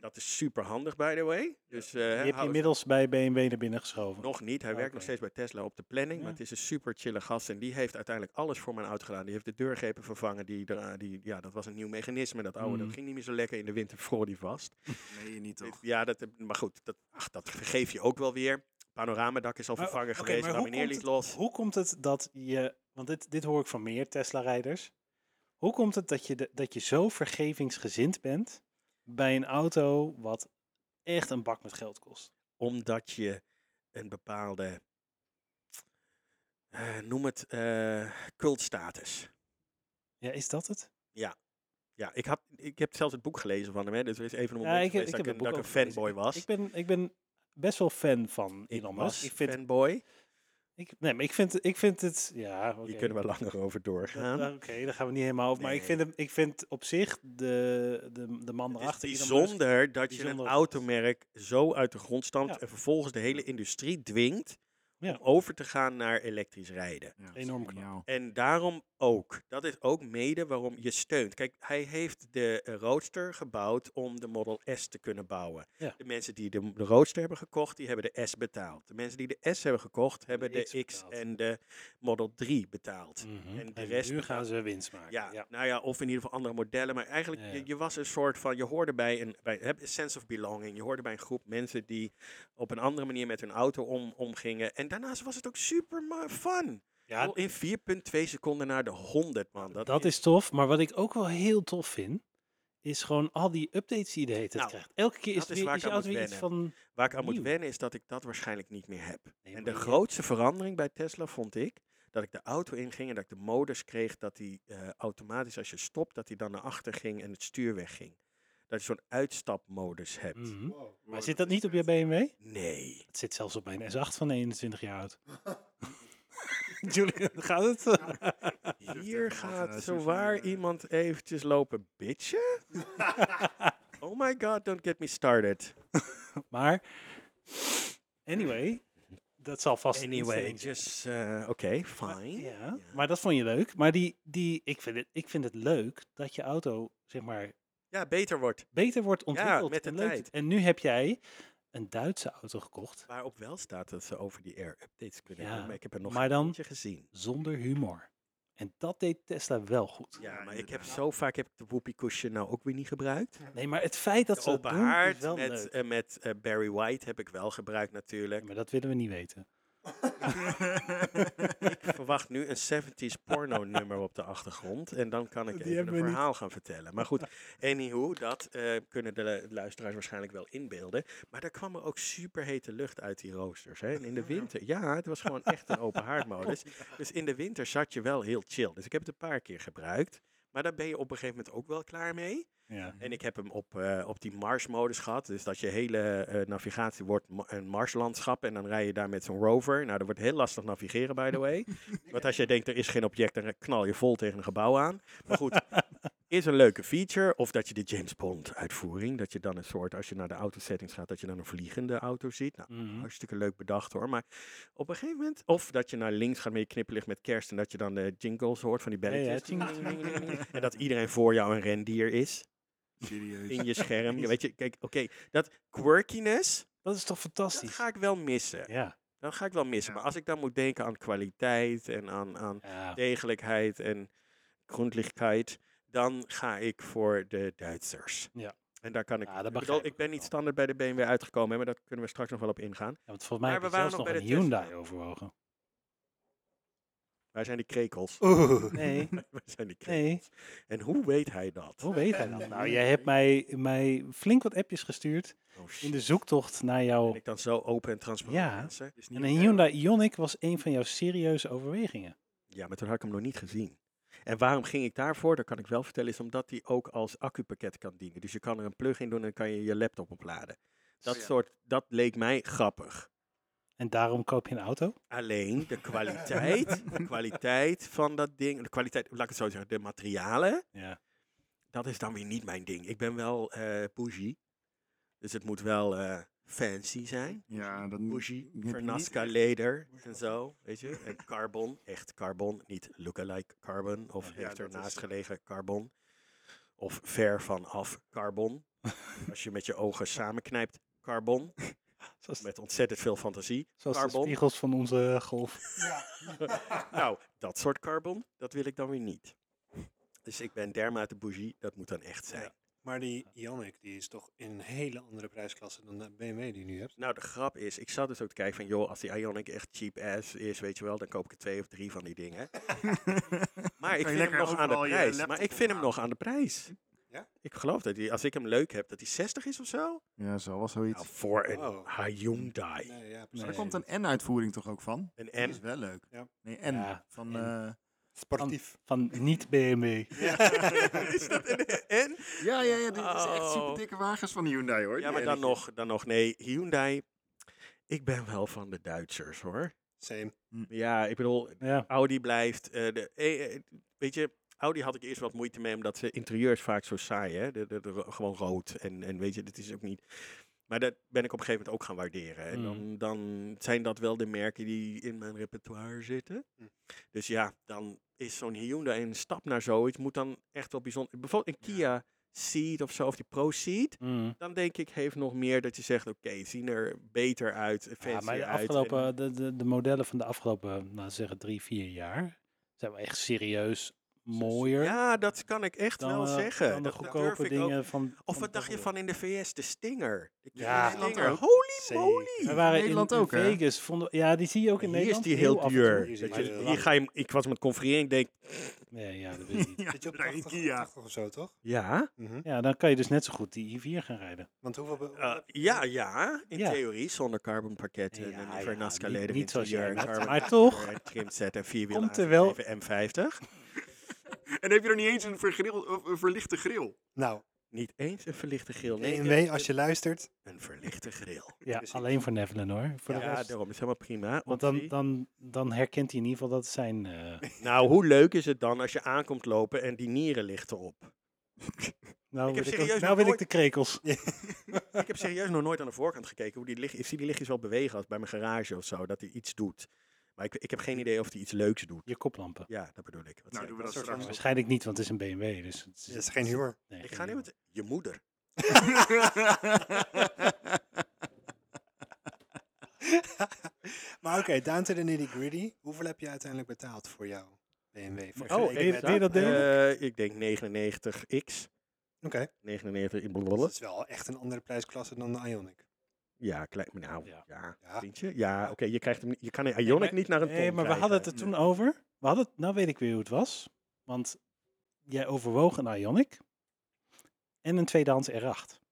Speaker 1: Dat is super handig, by the way. Dus, eh, hè,
Speaker 2: Oh. Die heb je
Speaker 1: hou-
Speaker 2: inmiddels bij BMW naar binnen geschoven.
Speaker 1: nog niet. Hij werkt nog
Speaker 2: Oké.
Speaker 1: steeds bij Tesla op de planning. Maar
Speaker 2: Ja.
Speaker 1: het is een super chille gast. En die heeft uiteindelijk alles voor mijn auto gedaan. Die heeft de deurgrepen vervangen. Die, dra- die, ja, dat was een nieuw mechanisme. Dat oude,
Speaker 2: Mhm.
Speaker 1: dat ging niet meer zo lekker. In de winter vroor die vast.
Speaker 3: Nee, niet toch.
Speaker 1: Ja, dat, heb- maar goed. Dat, ach, dat vergeef je ook wel weer. Panoramadak is al
Speaker 2: Maar,
Speaker 1: vervangen
Speaker 2: oké,
Speaker 1: geweest.
Speaker 2: maar hoe
Speaker 1: Lamineer
Speaker 2: komt
Speaker 1: liet los.
Speaker 2: Hoe komt het dat je, want dit, dit hoor ik van meer Tesla-rijders. Hoe komt het dat je, de- dat je zo vergevingsgezind bent bij een auto wat echt een bak met geld kost?
Speaker 1: Omdat je een bepaalde... eh, noem het eh, cultstatus.
Speaker 2: Ja, is dat het?
Speaker 1: Ja, ik, had, ik heb zelfs het boek gelezen van hem. Hè, dus er is even een
Speaker 2: Ja,
Speaker 1: moment
Speaker 2: ik-
Speaker 1: geweest
Speaker 2: ik
Speaker 1: dat,
Speaker 2: heb
Speaker 1: ik,
Speaker 2: het
Speaker 1: een- dat ik
Speaker 2: boek
Speaker 1: een
Speaker 2: ook gelezen.
Speaker 1: fanboy was.
Speaker 2: Ik ben, ik ben best wel fan van
Speaker 1: Ik
Speaker 2: Elon Musk.
Speaker 1: was
Speaker 2: Ik vind,
Speaker 1: fanboy.
Speaker 2: ik, nee, maar ik vind, ik vind het, ja, oké.
Speaker 1: Hier kunnen we langer over
Speaker 2: Dat-
Speaker 1: doorgaan.
Speaker 2: dat- Oké, daar gaan we niet helemaal over. Maar ik
Speaker 1: Nee.
Speaker 2: vind, hem, ik vind op zich de, de, de man
Speaker 1: Het is
Speaker 2: erachter. Elon Musk-
Speaker 1: bijzonder dat je een
Speaker 2: bijzonder.
Speaker 1: automerk zo uit de grond stampt
Speaker 2: Ja.
Speaker 1: en vervolgens de hele industrie dwingt
Speaker 2: Ja.
Speaker 1: om over te gaan naar elektrisch rijden.
Speaker 3: Ja, dat is
Speaker 2: Enorm
Speaker 3: geniaal.
Speaker 1: En daarom ook. Dat is ook mede waarom je steunt. Kijk, hij heeft de eh, Roadster gebouwd om de Model S te kunnen bouwen.
Speaker 2: Ja.
Speaker 1: De mensen die de, de Roadster hebben gekocht, die hebben de S betaald. De mensen die de S hebben gekocht, hebben de,
Speaker 2: X
Speaker 1: X
Speaker 2: betaald.
Speaker 1: en de Model 3 betaald.
Speaker 2: Mhm.
Speaker 1: En de
Speaker 2: En
Speaker 1: rest
Speaker 2: nu
Speaker 1: betaalt-
Speaker 2: gaan ze winst maken.
Speaker 1: Ja, nou ja, of in ieder geval andere modellen. Maar eigenlijk,
Speaker 2: Ja, ja.
Speaker 1: Je, je was een soort van, je hoorde bij een, bij, heb een sense of belonging. Je hoorde bij een groep mensen die op een andere manier met hun auto om, omgingen. En daarnaast was het ook super ma- fun.
Speaker 2: Ja,
Speaker 1: Al In 4,2 seconden naar de 100, man. Dat,
Speaker 2: Dat is tof, maar wat ik ook wel heel tof vind, is gewoon al die updates die je de hele tijd
Speaker 1: Nou,
Speaker 2: krijgt. Elke keer is,
Speaker 1: dat
Speaker 2: er
Speaker 1: is
Speaker 2: weer,
Speaker 1: waar
Speaker 2: is
Speaker 1: ik
Speaker 2: je
Speaker 1: aan
Speaker 2: auto weer
Speaker 1: moet
Speaker 2: iets van...
Speaker 1: Waar ik aan moet
Speaker 2: nieuw.
Speaker 1: wennen is dat ik dat waarschijnlijk niet meer heb.
Speaker 2: Nee,
Speaker 1: En
Speaker 2: maar
Speaker 1: de
Speaker 2: je-
Speaker 1: grootste verandering bij Tesla vond ik dat ik de auto inging en dat ik de modus kreeg dat die eh, automatisch als je stopt, dat hij dan naar achter ging en het stuur wegging. Dat je zo'n uitstapmodus hebt.
Speaker 2: Mhm. Maar
Speaker 3: Wow,
Speaker 2: zit dat
Speaker 3: is
Speaker 2: niet op
Speaker 3: echt-
Speaker 2: je BMW?
Speaker 1: Nee.
Speaker 2: Het zit zelfs op mijn S8 van 21 jaar oud. Julian, gaat het?
Speaker 1: Nou. Hier
Speaker 3: even laten, eh,
Speaker 1: gaat zo
Speaker 3: Susan,
Speaker 1: waar
Speaker 3: eh,
Speaker 1: iemand eventjes lopen bitchen. oh my god, don't get me started.
Speaker 2: maar, anyway, dat zal vast een
Speaker 1: Anyway,
Speaker 2: instelling zijn.
Speaker 1: just, eh, oké, fine.
Speaker 2: Ja, maar dat vond je leuk. Maar die, die, ik, vind het, ik vind het leuk dat je auto, zeg maar,
Speaker 1: Ja, beter wordt.
Speaker 2: beter wordt ontwikkeld.
Speaker 1: met de
Speaker 2: en leuk
Speaker 1: tijd.
Speaker 2: wordt. En nu heb jij een Duitse auto gekocht
Speaker 1: Waarop wel staat dat ze over die air updates kunnen
Speaker 2: Ja,
Speaker 1: hebben. Maar ik heb er nog
Speaker 2: maar
Speaker 1: geen
Speaker 2: dan-
Speaker 1: eentje gezien.
Speaker 2: zonder humor. En dat deed Tesla wel goed.
Speaker 1: Ja,
Speaker 3: Ja,
Speaker 1: maar ik heb
Speaker 3: inderdaad.
Speaker 1: zo vaak heb ik de whoopie cushion nou ook weer niet gebruikt.
Speaker 2: Nee, maar het feit dat
Speaker 1: De
Speaker 2: ze dat
Speaker 1: open
Speaker 2: doen is
Speaker 1: haard
Speaker 2: wel
Speaker 1: met,
Speaker 2: leuk.
Speaker 1: eh, met eh, Barry White heb ik wel gebruikt
Speaker 2: Ja,
Speaker 1: natuurlijk.
Speaker 2: maar dat willen we niet weten.
Speaker 1: ik verwacht nu een 70s porno nummer op de achtergrond. En dan kan ik
Speaker 2: Die
Speaker 1: even
Speaker 2: hebben
Speaker 1: een
Speaker 2: we niet.
Speaker 1: verhaal gaan vertellen. Maar goed, anywho, dat eh, kunnen de lu- luisteraars waarschijnlijk wel inbeelden. Maar daar kwam er ook super hete lucht uit die roosters. Hè? En in
Speaker 2: Oh,
Speaker 1: de winter, ja, het was gewoon echt een open haardmodus. Dus in de winter zat je wel heel chill. Dus ik heb het een paar keer gebruikt. Maar daar ben je op een gegeven moment ook wel klaar mee.
Speaker 2: Ja.
Speaker 1: En ik heb hem op, eh, op die Mars-modus gehad. Dus dat je hele eh, navigatie wordt ma- een Marslandschap. En dan rij je daar met zo'n rover. Nou, dat wordt heel lastig navigeren, by the way. Want als je denkt, er is geen object, dan knal je vol tegen een gebouw aan. Maar goed, is een leuke feature. Of dat je de James Bond-uitvoering, dat je dan een soort, als je naar de auto-settings gaat, dat je dan een vliegende auto ziet. Nou,
Speaker 2: Mhm.
Speaker 1: hartstikke leuk bedacht hoor. Maar op een gegeven moment, of dat je naar links gaat met je knipperlicht met kerst. En dat je dan de jingles hoort van die
Speaker 2: Ja, ja,
Speaker 1: belletjes.
Speaker 2: tjing, tjing, tjing, tjing, tjing.
Speaker 1: En dat iedereen voor jou een rendier is
Speaker 3: Serieus.
Speaker 1: in je scherm. Je weet je, kijk, oké, dat quirkiness,
Speaker 2: Dat is toch
Speaker 1: dat
Speaker 2: fantastisch?
Speaker 1: ga ik wel missen.
Speaker 2: Ja.
Speaker 1: Dat ga ik wel missen.
Speaker 3: Ja.
Speaker 1: Maar als ik dan moet denken aan kwaliteit en aan, aan
Speaker 2: ja.
Speaker 1: degelijkheid en grondlichheid, dan ga ik voor de Duitsers.
Speaker 2: Ja.
Speaker 1: En daar kan ik.
Speaker 2: Ja, dat
Speaker 1: ik
Speaker 2: begrijp
Speaker 1: bedoel, ik
Speaker 2: ik
Speaker 1: ben
Speaker 2: ook
Speaker 1: niet
Speaker 2: wel.
Speaker 1: standaard bij de BMW uitgekomen, hè, maar daar kunnen we straks nog wel op ingaan.
Speaker 2: Ja, Want volgens mij
Speaker 1: Maar
Speaker 2: heb je
Speaker 1: we waren
Speaker 2: zelfs
Speaker 1: nog
Speaker 2: nog
Speaker 1: bij
Speaker 2: een
Speaker 1: de Tesla.
Speaker 2: Hyundai overwogen.
Speaker 1: Waar zijn die krekels?
Speaker 2: Nee,
Speaker 1: Waar zijn die krekels?
Speaker 2: Oh. nee.
Speaker 1: En hoe weet hij dat?
Speaker 2: Hoe weet hij dat? Nou, jij hebt mij, mij flink wat appjes gestuurd
Speaker 1: Oh,
Speaker 2: in
Speaker 1: shit.
Speaker 2: de zoektocht naar
Speaker 1: Ben
Speaker 2: jouw...
Speaker 1: ik dan zo open en transparant?
Speaker 2: Ja.
Speaker 1: mensen?
Speaker 3: Is niet
Speaker 2: En een
Speaker 3: fair.
Speaker 2: Hyundai Ioniq was een van jouw serieuze overwegingen.
Speaker 1: Ja, maar toen had ik hem nog niet gezien. En waarom ging ik daarvoor? Dat kan ik wel vertellen, is omdat die ook als accupakket kan dienen. Dus je kan er een plug in doen en dan kan je je laptop opladen. Dat
Speaker 3: ja.
Speaker 1: soort, dat leek mij grappig.
Speaker 2: En daarom koop je een auto?
Speaker 1: Alleen de kwaliteit, de kwaliteit van dat ding, de kwaliteit, laat ik het zo zeggen, de materialen,
Speaker 2: Ja.
Speaker 1: dat is dan weer niet mijn ding. Ik ben wel eh bougie, dus het moet wel eh, fancy zijn.
Speaker 3: Ja, dat moet
Speaker 1: Bougie,
Speaker 3: moet je
Speaker 1: Vernasca
Speaker 3: niet-
Speaker 1: leder en zo, weet je. En carbon, echt carbon, niet lookalike carbon of
Speaker 3: Ja,
Speaker 1: heeft
Speaker 3: dat
Speaker 1: ernaast
Speaker 3: is-
Speaker 1: gelegen carbon. Of ver vanaf carbon. Als je met je ogen samenknijpt, carbon.
Speaker 2: Zoals,
Speaker 1: Met ontzettend veel fantasie.
Speaker 2: zoals de
Speaker 1: carbon.
Speaker 2: spiegels van onze golf.
Speaker 1: Nou, dat soort carbon, dat wil ik dan weer niet. Dus ik ben dermate bougie, dat moet dan echt zijn.
Speaker 4: Maar die Yannick, die is toch in een hele andere prijsklasse dan de BMW die je nu hebt.
Speaker 1: Nou, de grap is, ik zat dus ook te kijken van, joh, als die Ionic echt cheap ass is, weet je wel, dan koop ik er twee of drie van die dingen. maar ik vind
Speaker 3: je
Speaker 1: hem
Speaker 3: lekker
Speaker 1: nog aan de
Speaker 3: overal je
Speaker 1: prijs.
Speaker 3: laptop
Speaker 1: Maar ik vind hem
Speaker 3: ophalen.
Speaker 1: nog aan de prijs.
Speaker 4: Ja?
Speaker 1: Ik geloof dat hij, als ik hem leuk heb, dat hij 60 is of zo.
Speaker 3: Ja, zo was zoiets.
Speaker 1: Nou, voor een
Speaker 4: Oh.
Speaker 1: Hyundai.
Speaker 4: Nee, ja,
Speaker 3: Maar
Speaker 4: precies.
Speaker 3: er komt een N-uitvoering toch ook van?
Speaker 1: Een
Speaker 3: Dat
Speaker 1: N.
Speaker 3: is wel leuk.
Speaker 4: Ja.
Speaker 3: Nee, N.
Speaker 2: Ja,
Speaker 3: van,
Speaker 2: N.
Speaker 3: eh,
Speaker 4: Sportief.
Speaker 2: Van niet BMW.
Speaker 1: is dat een N?
Speaker 3: ja, ja, ja, dit is echt
Speaker 1: Oh.
Speaker 3: super dikke wagens van Hyundai hoor.
Speaker 1: Ja,
Speaker 3: die
Speaker 1: maar dan
Speaker 3: N'tjes.
Speaker 1: nog, dan nog, nee, Hyundai. Ik ben wel van de Duitsers, hoor.
Speaker 4: Same.
Speaker 1: Ja, ik bedoel,
Speaker 2: Ja.
Speaker 1: Audi blijft. eh, de, eh, eh, weet je, Audi had ik eerst wat moeite mee, omdat ze interieurs vaak zo saai, hè? De, de, de ro- gewoon rood. En, en weet je, dat is ook niet. Maar dat ben ik op een gegeven moment ook gaan waarderen. En dan, dan zijn dat wel de merken die in mijn repertoire zitten.
Speaker 4: Hm.
Speaker 1: Dus ja, dan is zo'n Hyundai een stap naar zoiets, moet dan echt wel bijzonder. Bijvoorbeeld een Kia Ceed of zo, of die Pro Ceed.
Speaker 2: Mm.
Speaker 1: Dan denk ik, heeft nog meer dat je zegt, oké, het zien er beter uit, fancy
Speaker 2: Ja, maar de,
Speaker 1: uit. en-
Speaker 2: afgelopen, de, de, de modellen van de afgelopen, nou zeggen drie, vier jaar, zijn wel echt serieus mooier
Speaker 1: Ja, dat kan ik echt
Speaker 2: dan,
Speaker 1: wel
Speaker 2: eh,
Speaker 1: zeggen.
Speaker 2: dan de
Speaker 1: Dat- dat
Speaker 2: goedkope
Speaker 1: durf ik ook.
Speaker 2: dingen van...
Speaker 1: Of
Speaker 2: van
Speaker 1: wat dacht je van in de VS? De Stinger. De
Speaker 2: Ja.
Speaker 1: Kia Stinger.
Speaker 3: Nederland
Speaker 1: Holy
Speaker 4: Zeker.
Speaker 1: moly.
Speaker 2: We waren in,
Speaker 3: Nederland
Speaker 2: in
Speaker 3: ook, hè?
Speaker 2: Vegas. Vonden, ja, die zie je ook in
Speaker 1: Hier is
Speaker 2: Nederland.
Speaker 1: die heel
Speaker 2: af en toe.
Speaker 1: duur.
Speaker 4: Hier is
Speaker 1: Dat
Speaker 4: die
Speaker 1: je-
Speaker 4: heel
Speaker 1: Hier
Speaker 4: lang.
Speaker 1: ga je, hem- ik was met confereren en ik denk,
Speaker 2: Nee, ja, dat wil je niet.
Speaker 3: Ja,
Speaker 4: Zit je op
Speaker 3: daar in
Speaker 4: 80,
Speaker 3: Kia.
Speaker 4: 80 of zo, toch?
Speaker 1: ja,
Speaker 2: Ja, dan kan je dus net zo goed die i4 gaan rijden.
Speaker 4: Want hoeveel... be-
Speaker 1: eh, ja, ja, in
Speaker 2: Ja.
Speaker 1: theorie zonder carbonpakketten
Speaker 2: Ja, ja,
Speaker 1: en Vernasca
Speaker 2: niet-
Speaker 1: leden
Speaker 2: niet zoals jij
Speaker 1: interieur en
Speaker 2: wilt,
Speaker 1: carbon
Speaker 2: maar toch.
Speaker 1: interieur en trimset en vierwiel
Speaker 2: Komt er wel-
Speaker 1: M50.
Speaker 3: En heb je er niet eens een, vergril, of een verlichte grill?
Speaker 4: Nou,
Speaker 1: Niet eens een verlichte grill. Nee,
Speaker 4: BMW, als je luistert,
Speaker 1: een verlichte grill.
Speaker 2: Ja,
Speaker 4: Precies.
Speaker 2: alleen voor Nevelen hoor. Voor
Speaker 1: Ja,
Speaker 2: de rest.
Speaker 1: daarom is helemaal prima.
Speaker 2: Want dan,
Speaker 1: optie.
Speaker 2: dan, dan herkent hij in ieder geval dat het zijn... eh,
Speaker 1: Nou, hoe leuk is het dan als je aankomt lopen en die nieren lichten op?
Speaker 2: nou
Speaker 1: Ik heb
Speaker 2: wil ik,
Speaker 1: serieus
Speaker 2: ook-
Speaker 1: nog
Speaker 2: nou wil ik
Speaker 1: nooit-
Speaker 2: de krekels.
Speaker 1: ik heb serieus nog nooit aan de voorkant gekeken. Hoe die licht, ik zie die lichtjes wel bewegen als bij mijn garage of zo. Dat hij iets doet. Maar ik, ik heb geen idee of hij iets leuks doet.
Speaker 2: Je koplampen.
Speaker 1: Ja, dat bedoel ik. Wat zei
Speaker 3: Nou, doen we
Speaker 1: ik?
Speaker 3: dat
Speaker 4: soort
Speaker 3: straks.
Speaker 4: van-
Speaker 3: nog.
Speaker 2: Waarschijnlijk niet, want het is een BMW. Dus het is,
Speaker 4: het is geen humor.
Speaker 2: nee,
Speaker 1: ik
Speaker 2: geen
Speaker 1: ga nu
Speaker 2: humor.
Speaker 1: met je moeder.
Speaker 4: maar oké, down to the nitty gritty. Hoeveel heb je uiteindelijk betaald voor jouw BMW?
Speaker 2: Oh,
Speaker 4: Vergeleken
Speaker 2: deed-
Speaker 4: met-
Speaker 2: deed je dat ding?
Speaker 1: Eh, ik denk 99X.
Speaker 4: Oké,
Speaker 1: 99 in
Speaker 4: dat
Speaker 1: blablabla.
Speaker 4: is wel echt een andere prijsklasse dan de Ionic.
Speaker 1: Ja, klein. Nou,
Speaker 2: Ja.
Speaker 1: ja. Ja,
Speaker 4: Ja.
Speaker 1: vind je? Ja, oké. je, krijgt hem, niet- je kan een Ionic
Speaker 2: maar-
Speaker 1: niet naar een ton
Speaker 2: Nee, maar we hadden het er
Speaker 1: krijgen.
Speaker 2: toen over. We hadden het, nou weet ik weer hoe het was. Want jij overwoog een Ionic en een tweedehands R8.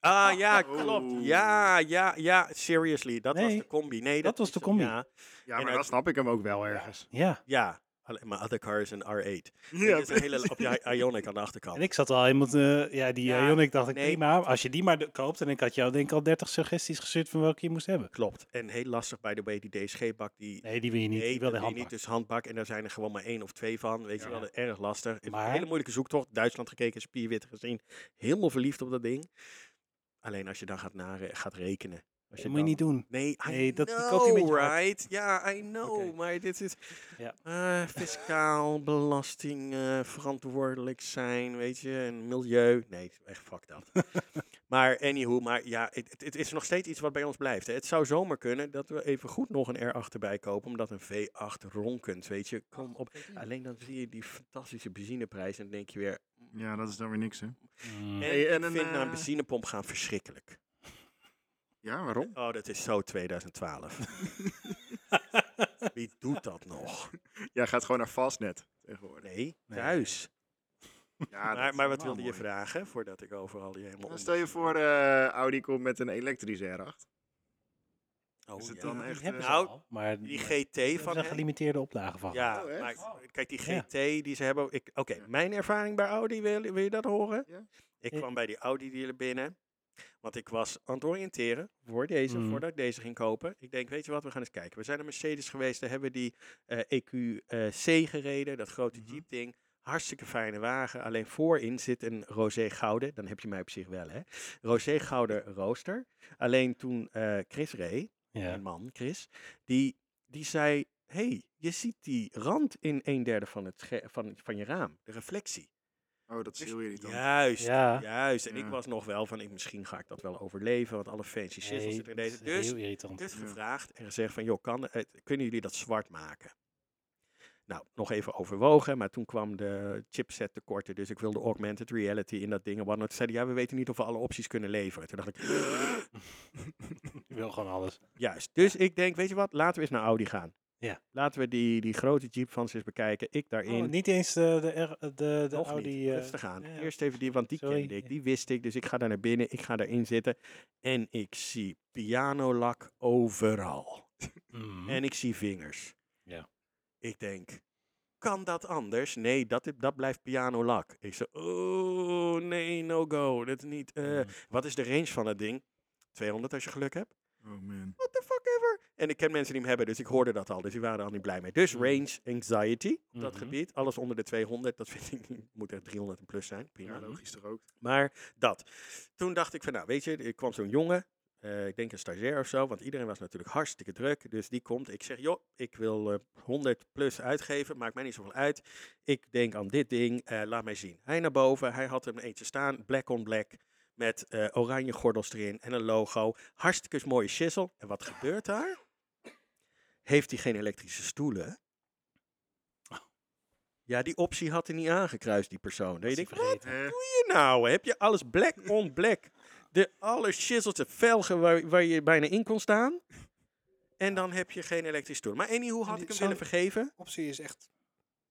Speaker 1: Ah, ja, klopt.
Speaker 3: Oeh.
Speaker 1: Ja, ja, ja. Seriously, dat was
Speaker 2: Nee,
Speaker 1: de combi. Nee, dat,
Speaker 2: dat was
Speaker 1: is
Speaker 2: de
Speaker 1: het.
Speaker 2: combi.
Speaker 1: Ja,
Speaker 3: Ja,
Speaker 1: En
Speaker 3: maar
Speaker 1: uit-
Speaker 3: dat snap ik hem ook wel ergens.
Speaker 2: Ja,
Speaker 1: ja. Alleen, maar other car is een R8.
Speaker 3: Ja,
Speaker 1: Dit is een hele, op je Ionic aan de achterkant.
Speaker 2: en ik zat al helemaal... eh, ja, die
Speaker 1: Oh. Ja,
Speaker 2: Ionic dacht ik,
Speaker 1: nee.
Speaker 2: prima, als je die maar de- koopt. En ik had jou denk ik al 30 suggesties gestuurd van welke je moest hebben.
Speaker 1: Klopt. En heel lastig bij de way die DSG-bak. Die
Speaker 2: Nee, die wil je niet.
Speaker 1: Nee,
Speaker 2: ik
Speaker 1: dat doe
Speaker 2: wil de
Speaker 1: je niet.
Speaker 2: handbak.
Speaker 1: Dus handbak. En daar zijn er gewoon maar één of twee van. Weet je
Speaker 2: Ja.
Speaker 1: wel, dat is erg lastig. Het is
Speaker 2: Maar-
Speaker 1: Een hele moeilijke zoektocht. Duitsland gekeken, spierwit gezien. Helemaal verliefd op dat ding. Alleen als je dan gaat, nare, gaat rekenen. Als
Speaker 2: dat moet je niet doen.
Speaker 1: Nee, I
Speaker 2: Nee, dat- die
Speaker 1: know,
Speaker 2: koop je met je hart.
Speaker 1: right? Ja, I know.
Speaker 2: Oké.
Speaker 1: Maar dit is
Speaker 2: Ja.
Speaker 1: eh, fiscaal, belasting, eh, verantwoordelijk zijn, weet je. En milieu. Nee, echt fuck dat. maar anyhow, maar ja, het, het- het is nog steeds iets wat bij ons blijft. Hè. Het zou zomaar kunnen dat we even goed nog een R8 erbij kopen, omdat een V8 ronkend, weet je. Kom op. Alleen dan zie je die fantastische benzineprijs en dan denk je weer...
Speaker 3: Ja, dat is dan weer niks, hè?
Speaker 2: Mm.
Speaker 1: En
Speaker 3: Hey, en
Speaker 1: ik
Speaker 3: een,
Speaker 1: vind naar een
Speaker 3: eh,
Speaker 1: benzinepomp gaan verschrikkelijk.
Speaker 3: Ja, waarom?
Speaker 1: Oh, dat is zo 2012. Wie doet dat nog?
Speaker 3: Jij gaat gewoon naar Fastnet tegenwoordig.
Speaker 1: Nee, thuis.
Speaker 3: Ja, Ah, dat
Speaker 1: maar,
Speaker 3: is
Speaker 1: maar wat
Speaker 3: wel
Speaker 1: wilde je
Speaker 3: mooi.
Speaker 1: vragen voordat ik overal je helemaal.
Speaker 3: Dan Nou, stel je voor, eh, Audi komt met een elektrische R8.
Speaker 1: onder- Oh,
Speaker 3: is het
Speaker 1: ja.
Speaker 3: dan
Speaker 2: Die
Speaker 3: echt,
Speaker 2: hebben
Speaker 1: eh,
Speaker 2: ze
Speaker 1: Nou,
Speaker 2: al, maar
Speaker 1: die
Speaker 2: maar
Speaker 1: GT
Speaker 2: er
Speaker 1: van.
Speaker 2: zijn
Speaker 1: hen?
Speaker 2: gelimiteerde oplagen van.
Speaker 1: Ja,
Speaker 3: Oh, echt?
Speaker 1: maar kijk, die
Speaker 2: Ja.
Speaker 1: GT die ze hebben. ik- Oké,
Speaker 3: Ja.
Speaker 1: mijn ervaring bij Audi, wil, wil je dat horen?
Speaker 3: Ja.
Speaker 1: Ik
Speaker 2: Ja.
Speaker 1: kwam bij die Audi dealer binnen. Want ik was aan het oriënteren voor deze,
Speaker 2: Mhm.
Speaker 1: voordat ik deze ging kopen. Ik denk, weet je wat, we gaan eens kijken. We zijn naar Mercedes geweest, daar hebben we die eh, E EQC gereden, dat grote
Speaker 4: Mhm.
Speaker 1: Jeep-ding. Hartstikke fijne wagen. Alleen voorin zit een roze gouden. Dan heb je mij op zich wel, hè? Roze gouden rooster. Alleen toen eh, Chris reed,
Speaker 2: Ja.
Speaker 1: mijn man, Chris, die, die zei: hey, je ziet die rand in een derde van, het sche- van, van je raam, de reflectie. Dus
Speaker 3: Oh, dat is heel irritant.
Speaker 1: Juist,
Speaker 2: Ja.
Speaker 1: juist. En ik
Speaker 3: Ja.
Speaker 1: was nog wel van: ik, misschien ga ik dat wel overleven, want alle fancy shit
Speaker 2: Nee,
Speaker 1: zit er in
Speaker 2: dat
Speaker 1: deze.
Speaker 2: is
Speaker 1: Dus,
Speaker 2: Heel irritant.
Speaker 1: dus
Speaker 3: Ja.
Speaker 1: gevraagd en gezegd: van joh, kan, eh, kunnen jullie dat zwart maken? Nou, nog even overwogen, maar toen kwam de chipset tekorten, dus ik wilde augmented reality in dat ding. en whatnot. Toen zeiden ja, we weten niet of we alle opties kunnen leveren. Toen dacht ik,
Speaker 2: Ik wil gewoon alles.
Speaker 1: Juist. Dus ik denk, weet je wat, laten we eens naar Audi gaan.
Speaker 2: Ja.
Speaker 1: Laten we die, die grote Jeep van ze eens bekijken. Ik daarin.
Speaker 2: Oh, niet eens de, de, R- de, de
Speaker 1: Nog
Speaker 2: Audi.
Speaker 1: niet.
Speaker 2: eh,
Speaker 1: Rustig aan.
Speaker 2: ja.
Speaker 1: Eerst even die, want die
Speaker 2: Sorry.
Speaker 1: kende ik. Die wist ik. Dus ik ga daar naar binnen. Ik ga daarin zitten. En ik zie pianolak overal.
Speaker 2: Mhm.
Speaker 1: En ik zie vingers.
Speaker 2: Ja.
Speaker 1: Ik denk, kan dat anders? Nee, dat, i- dat blijft pianolak. Ik zeg, oh nee, no go. Dat is niet... eh."
Speaker 2: Mhm.
Speaker 1: Wat is de range van dat ding? 200 als je geluk hebt.
Speaker 3: Oh man.
Speaker 1: what the fuck ever. En ik ken mensen die hem hebben, dus ik hoorde dat al. Dus die waren er al niet blij mee. Dus
Speaker 2: Mhm.
Speaker 1: range anxiety op dat
Speaker 2: Mhm.
Speaker 1: gebied. Alles onder de 200, dat vind ik niet. Moet echt 300 en plus zijn. Prima.
Speaker 3: Ja, logisch toch ook.
Speaker 1: Maar dat. Toen dacht ik van, nou weet je, er kwam zo'n jongen. eh, ik denk een stagiair of zo, want iedereen was natuurlijk hartstikke druk. Dus die komt. Ik zeg, joh, ik wil eh, 100 plus uitgeven. Maakt mij niet zoveel uit. Ik denk aan dit ding. eh, laat mij zien. Hij naar boven. Hij had hem eentje staan. Black on black. Met eh, oranje gordels erin en een logo. Hartstikke mooie shizzle. En wat gebeurt daar? Heeft hij geen elektrische stoelen?
Speaker 2: Oh.
Speaker 1: Ja, die optie had hij niet aangekruist, die persoon. Dan
Speaker 2: Dat
Speaker 1: je
Speaker 2: is
Speaker 1: denkt,
Speaker 2: ik
Speaker 1: wat?
Speaker 2: vergeten.
Speaker 3: Eh,
Speaker 1: je nou? Heb je alles black on black? De alle shizzelse velgen waar, waar je bijna in kon staan. En dan heb je geen elektrisch stoel. Maar anywho, had
Speaker 4: die-
Speaker 1: ik hem
Speaker 4: zou-
Speaker 1: willen vergeven.
Speaker 4: Optie is echt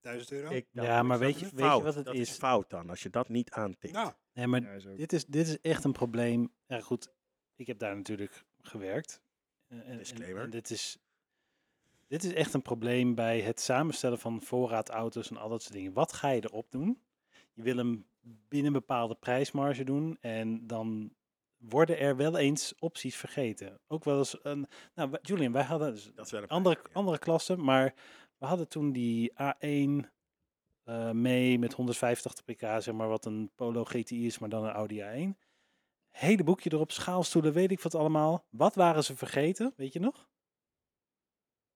Speaker 4: 1000 euro.
Speaker 1: Ik dacht,
Speaker 2: Ja,
Speaker 1: ik
Speaker 2: maar
Speaker 1: zat
Speaker 2: weet
Speaker 1: in
Speaker 2: je-
Speaker 1: een
Speaker 2: weet je
Speaker 1: fout.
Speaker 2: wat het
Speaker 1: dat
Speaker 2: is?
Speaker 1: fout dan, als je dat niet aantikt.
Speaker 4: nou,
Speaker 2: Nee, maar
Speaker 3: ja, is ook-
Speaker 2: dit is, dit is echt een probleem. Ja, goed, ik heb daar natuurlijk gewerkt. Eh, en- en-
Speaker 1: Disclaimer.
Speaker 2: en dit is, dit is echt een probleem bij het samenstellen van voorraadauto's en al dat soort dingen. Wat ga je erop doen? Je wil hem binnen een bepaalde prijsmarge doen en dan worden er wel eens opties vergeten. Ook wel eens een... Nou, wij- Julian, wij hadden... dus
Speaker 1: dat is wel een
Speaker 2: andere,
Speaker 1: pijnlijk, ja.
Speaker 2: andere klassen, maar we hadden toen die A1 eh, mee met 185 pk, zeg maar, wat een Polo GTI is, maar dan een Audi A1. Hele boekje erop, schaalstoelen, weet ik wat allemaal. Wat waren ze vergeten, weet je nog?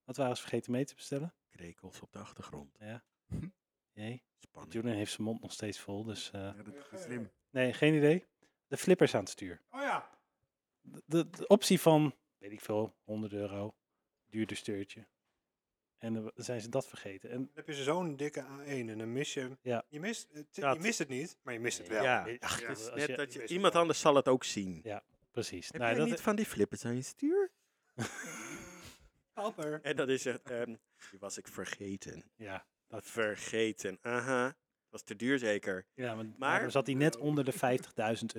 Speaker 2: Wat waren ze vergeten mee te bestellen?
Speaker 1: Krekels op de achtergrond.
Speaker 2: Nee,
Speaker 1: Spannend.
Speaker 2: Julian heeft zijn mond nog steeds vol, dus... eh,
Speaker 3: Ja, dat is slim.
Speaker 2: nee, geen idee. De flippers aan het stuur.
Speaker 4: oh ja.
Speaker 2: De, de, de optie van, weet ik veel, 100 euro, duurder steurtje. En dan zijn ze dat vergeten. En
Speaker 4: Dan heb je zo'n dikke A1 en dan mis je...
Speaker 2: Ja.
Speaker 4: Je mist, het,
Speaker 1: Dat.
Speaker 4: je mist het niet, maar je mist het
Speaker 2: Nee,
Speaker 4: wel.
Speaker 1: Ja.
Speaker 2: Ach,
Speaker 3: Ja,
Speaker 2: dat-
Speaker 3: het is
Speaker 2: als
Speaker 1: Net
Speaker 2: je-
Speaker 1: dat je,
Speaker 4: Wees
Speaker 1: iemand
Speaker 4: wel.
Speaker 1: anders zal het ook zien.
Speaker 2: Precies.
Speaker 1: Heb
Speaker 2: Nou,
Speaker 1: jij
Speaker 2: dat,
Speaker 1: niet van die flippers aan je stuur?
Speaker 4: Helper.
Speaker 1: En dat is echt... ehm, die was ik vergeten.
Speaker 2: ja, dat,
Speaker 1: Vergeten. Aha. Was te duur zeker.
Speaker 2: ja, maar,
Speaker 1: Maar-
Speaker 2: daarom zat hij net onder de 50.000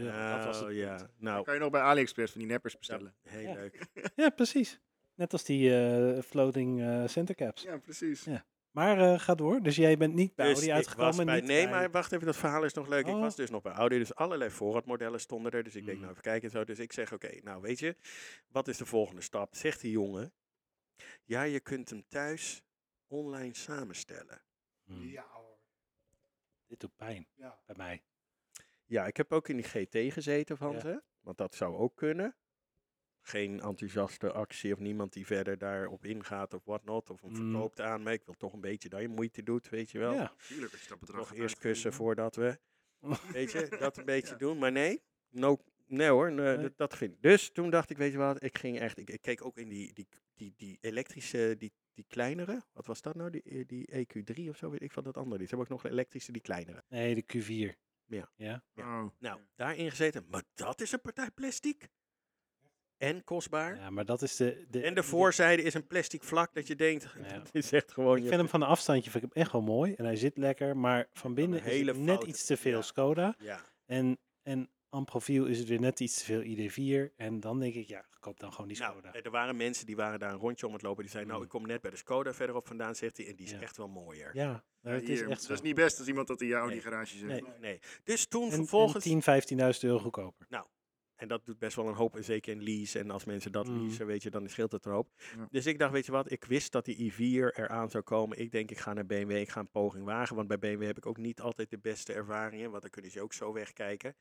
Speaker 2: euro. dat was
Speaker 1: Oh
Speaker 2: het
Speaker 1: ja.
Speaker 2: punt.
Speaker 1: Nou,
Speaker 3: Kan je nog bij AliExpress van die neppers
Speaker 1: ja,
Speaker 3: bestellen?
Speaker 1: heel
Speaker 2: Ja.
Speaker 1: leuk.
Speaker 2: Ja, precies. Net als die eh, floating eh center caps.
Speaker 3: Ja, precies.
Speaker 2: Ja. Maar eh, ga door. Dus jij bent niet bij
Speaker 1: Dus
Speaker 2: Audi
Speaker 1: ik
Speaker 2: uitgekomen.
Speaker 1: was bij-
Speaker 2: niet
Speaker 1: nee,
Speaker 2: bij-
Speaker 1: maar wacht even, dat verhaal is nog leuk. Ik
Speaker 2: Oh.
Speaker 1: was dus nog bij Audi, dus allerlei voorraadmodellen stonden er. Dus ik denk,
Speaker 2: Mhm.
Speaker 1: nou even kijken en zo. Dus ik zeg, oké, nou weet je, wat is de volgende stap? Zegt die jongen, ja, je kunt hem thuis online samenstellen.
Speaker 2: Hm,
Speaker 4: Ja hoor.
Speaker 2: Dit doet pijn
Speaker 4: Ja.
Speaker 2: bij mij.
Speaker 1: Ja, ik heb ook in die GT gezeten van
Speaker 2: Ja.
Speaker 1: ze, want dat zou ook kunnen. Geen enthousiaste actie of niemand die verder daarop ingaat of whatnot. Of hem
Speaker 2: Mm.
Speaker 1: verkoopt aan me. Ik wil toch een beetje dat je moeite doet, weet je wel.
Speaker 2: Ja.
Speaker 3: Tuurlijk, als je dat bedrag
Speaker 1: nog
Speaker 3: gaat
Speaker 1: eerst
Speaker 3: uitgeven.
Speaker 1: kussen voordat we. weet je, dat een beetje doen. Maar nee, no, nee hoor, nee,
Speaker 2: Nee.
Speaker 1: Dat, dat ging. Dus toen dacht ik, weet je wat, ik ging echt. Ik, ik keek ook in die, die, die, die elektrische, die, die kleinere. Wat was dat nou? Die, eh, die EQ3 of zo, weet ik van dat andere. Die hebben ook nog een elektrische, die kleinere.
Speaker 2: Nee, de Q4.
Speaker 3: Oh.
Speaker 1: Nou, daarin gezeten. Maar dat is een partij plastic. En kostbaar.
Speaker 2: Ja, maar dat is de... de
Speaker 1: En de voorzijde is een plastic vlak dat je denkt,
Speaker 2: Ja.
Speaker 1: dat is echt gewoon...
Speaker 2: Ik
Speaker 1: je-
Speaker 2: vind hem van een afstandje vind ik hem echt wel mooi. En hij zit lekker. Maar van binnen is
Speaker 1: hele
Speaker 2: het net
Speaker 1: foute-
Speaker 2: iets te veel
Speaker 1: ja.
Speaker 2: Skoda.
Speaker 1: Ja,
Speaker 2: En, en aan profiel is het weer net iets te veel ID4. En dan denk ik, ja, koop dan gewoon die
Speaker 1: nou,
Speaker 2: Skoda.
Speaker 1: er waren mensen die waren daar een rondje om het lopen. Die zeiden, nou,
Speaker 2: Mm.
Speaker 1: ik kom net bij de Skoda verderop vandaan, zegt hij. En die is
Speaker 2: Ja.
Speaker 1: echt wel mooier.
Speaker 2: ja, nou, het is
Speaker 3: Hier,
Speaker 2: echt
Speaker 3: dat is
Speaker 2: zo.
Speaker 3: niet best als iemand dat in jouw
Speaker 1: Nee.
Speaker 3: die garage zit.
Speaker 2: Nee.
Speaker 1: Nee. Dus toen
Speaker 2: En,
Speaker 1: vervolgens.
Speaker 2: en 10, 15.000 euro goedkoper.
Speaker 1: En dat doet best wel een hoop, en zeker in lease. En als mensen dat
Speaker 2: Mm.
Speaker 1: leasen, weet je, dan scheelt het een hoop.
Speaker 3: Ja.
Speaker 1: Dus ik dacht, weet je wat, ik wist dat die i4 eraan zou komen. Ik denk, ik ga naar BMW, ik ga een poging wagen. Want bij BMW heb ik ook niet altijd de beste ervaringen, want dan kunnen ze ook zo wegkijken.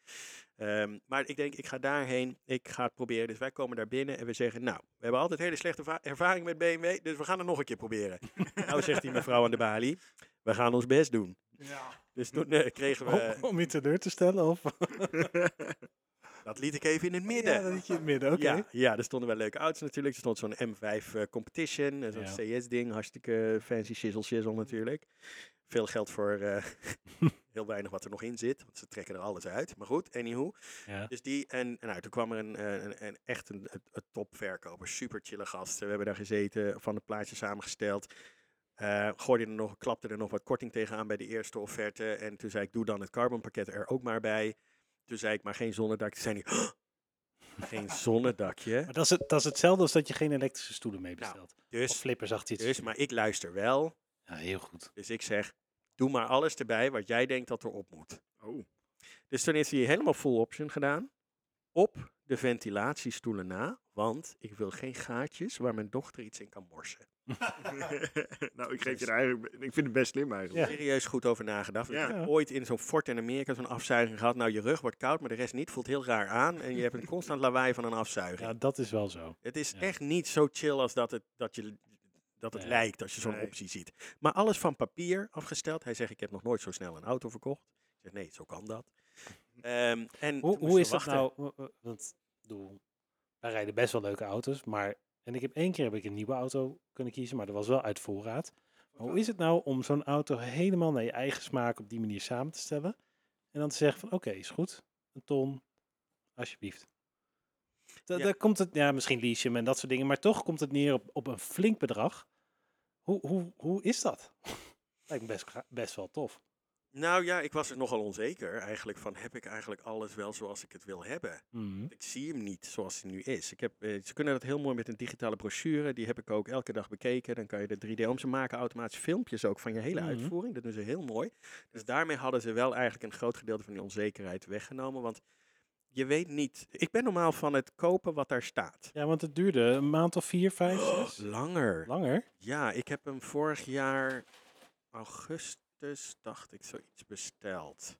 Speaker 1: Ehm, maar ik denk, ik ga daarheen, ik ga het proberen. Dus wij komen daar binnen en we zeggen, nou, we hebben altijd hele slechte erva- ervaring met BMW, dus we gaan het nog een keer proberen. nou, zegt die mevrouw aan de balie, we gaan ons best doen. Dus toen eh, kregen we,
Speaker 2: Om, om je teleur te stellen? Of?
Speaker 1: dat liet ik even in het midden.
Speaker 2: Ja, dat liet je in het midden, oké.
Speaker 1: Ja, ja, er stonden wel leuke auto's natuurlijk. Er stond zo'n M5 eh, Competition, eh, zo'n CS-ding. Hartstikke eh, fancy shizzle shizzle natuurlijk. Veel geld voor eh, heel weinig wat er nog in zit. Want ze trekken er alles uit. Maar goed, anyhow.
Speaker 2: Ja.
Speaker 1: Dus die en, en nou, toen kwam er een, eh, een, een echt een, een, een topverkoper. Super chille gast. We hebben daar gezeten, van het plaatje samengesteld. Eh, gooide er nog, klapte er nog wat korting tegenaan bij de eerste offerte. En toen zei ik, doe dan het carbonpakket er ook maar bij. Toen zei ik, maar geen zonnedak. Toen zei hij, geen zonnedakje.
Speaker 2: Maar dat is, het, dat is hetzelfde als dat je geen elektrische stoelen mee bestelt. of
Speaker 1: Dus,
Speaker 2: flippers achter iets.
Speaker 1: dus, maar ik luister wel.
Speaker 2: Ja, heel goed.
Speaker 1: Dus ik zeg, doe maar alles erbij wat jij denkt dat er op moet.
Speaker 3: Oh,
Speaker 1: Dus toen is hij helemaal full option gedaan. Op de ventilatiestoelen na. Want ik wil geen gaatjes waar mijn dochter iets in kan morsen.
Speaker 3: nou, ik geef je er eigenlijk... Ik vind het best slim eigenlijk.
Speaker 1: Serieus goed over nagedacht. Ik
Speaker 3: Ja.
Speaker 1: heb ooit in zo'n fort in Amerika zo'n afzuiging gehad. Nou, je rug wordt koud, maar de rest niet. Voelt heel raar aan. En je hebt een constant lawaai van een afzuiging.
Speaker 2: Ja, dat is wel zo.
Speaker 1: Het is
Speaker 2: Ja.
Speaker 1: echt niet zo chill als dat het, dat je, dat het
Speaker 2: Nee.
Speaker 1: lijkt als je zo'n
Speaker 3: Nee.
Speaker 1: optie ziet. Maar alles van papier afgesteld. Hij zegt, ik heb nog nooit zo snel een auto verkocht. Ik zeg, nee, zo kan dat. Ehm, en toen
Speaker 2: Hoe, hoe
Speaker 1: moesten we
Speaker 2: is dat
Speaker 1: wachten.
Speaker 2: nou? w- w- Want ik bedoel, wij rijden best wel leuke auto's, maar en ik heb één keer heb ik een nieuwe auto kunnen kiezen, maar dat was wel uit voorraad. Maar hoe is het nou om zo'n auto helemaal naar je eigen smaak op die manier samen te stellen en dan te zeggen van, oké, is goed, een ton, alsjeblieft. Da-
Speaker 1: Ja.
Speaker 2: Daar komt het, ja, misschien lease je hem en dat soort dingen, maar toch komt het neer op, op een flink bedrag. Hoe, hoe, hoe is dat? Lijkt me best, gra- best wel tof.
Speaker 1: Nou ja, ik was er nogal onzeker eigenlijk van, heb ik eigenlijk alles wel zoals ik het wil hebben? Ik zie hem niet zoals hij nu is. Ik heb, eh, ze kunnen dat heel mooi met een digitale brochure. Die heb ik ook elke dag bekeken. Dan kan je de 3D om. Ze maken automatisch filmpjes ook van je hele
Speaker 2: Mhm.
Speaker 1: uitvoering. Dat doen ze heel mooi. Dus daarmee hadden ze wel eigenlijk een groot gedeelte van die onzekerheid weggenomen. Want je weet niet. Ik ben normaal van het kopen wat daar staat. Oh,
Speaker 2: Ja, want het duurde een maand of vier, vijf, zes.
Speaker 1: Langer.
Speaker 2: Langer?
Speaker 1: Ja, ik heb hem vorig jaar augustus, dacht ik, zoiets besteld.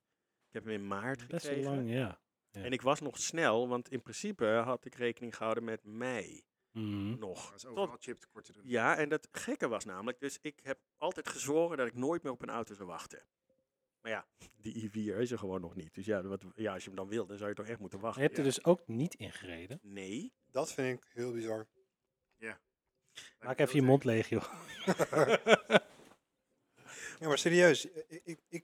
Speaker 1: Ik heb hem in maart
Speaker 2: Best wel
Speaker 1: gekregen.
Speaker 2: lang, ja. Ja.
Speaker 1: En ik was nog snel, want in principe had ik rekening gehouden met mei
Speaker 2: Mhm. Hm?
Speaker 1: nog.
Speaker 3: Dat is
Speaker 1: Tot-
Speaker 3: overal chiptekorten. doen.
Speaker 1: Ja, en dat gekke was namelijk, dus ik heb altijd gezworen dat ik nooit meer op een auto zou wachten. Maar ja, die i4 is er gewoon nog niet. Dus ja, wat, ja als je hem dan wil, dan zou je toch echt moeten
Speaker 2: Je
Speaker 1: wachten.
Speaker 2: hebt dus er
Speaker 1: Ja.
Speaker 2: dus ook niet in gereden.
Speaker 1: Nee.
Speaker 4: Dat vind ik heel bizar.
Speaker 2: Maak even je mond leeg, joh.
Speaker 4: Ja, maar serieus. Ik, ik, ik,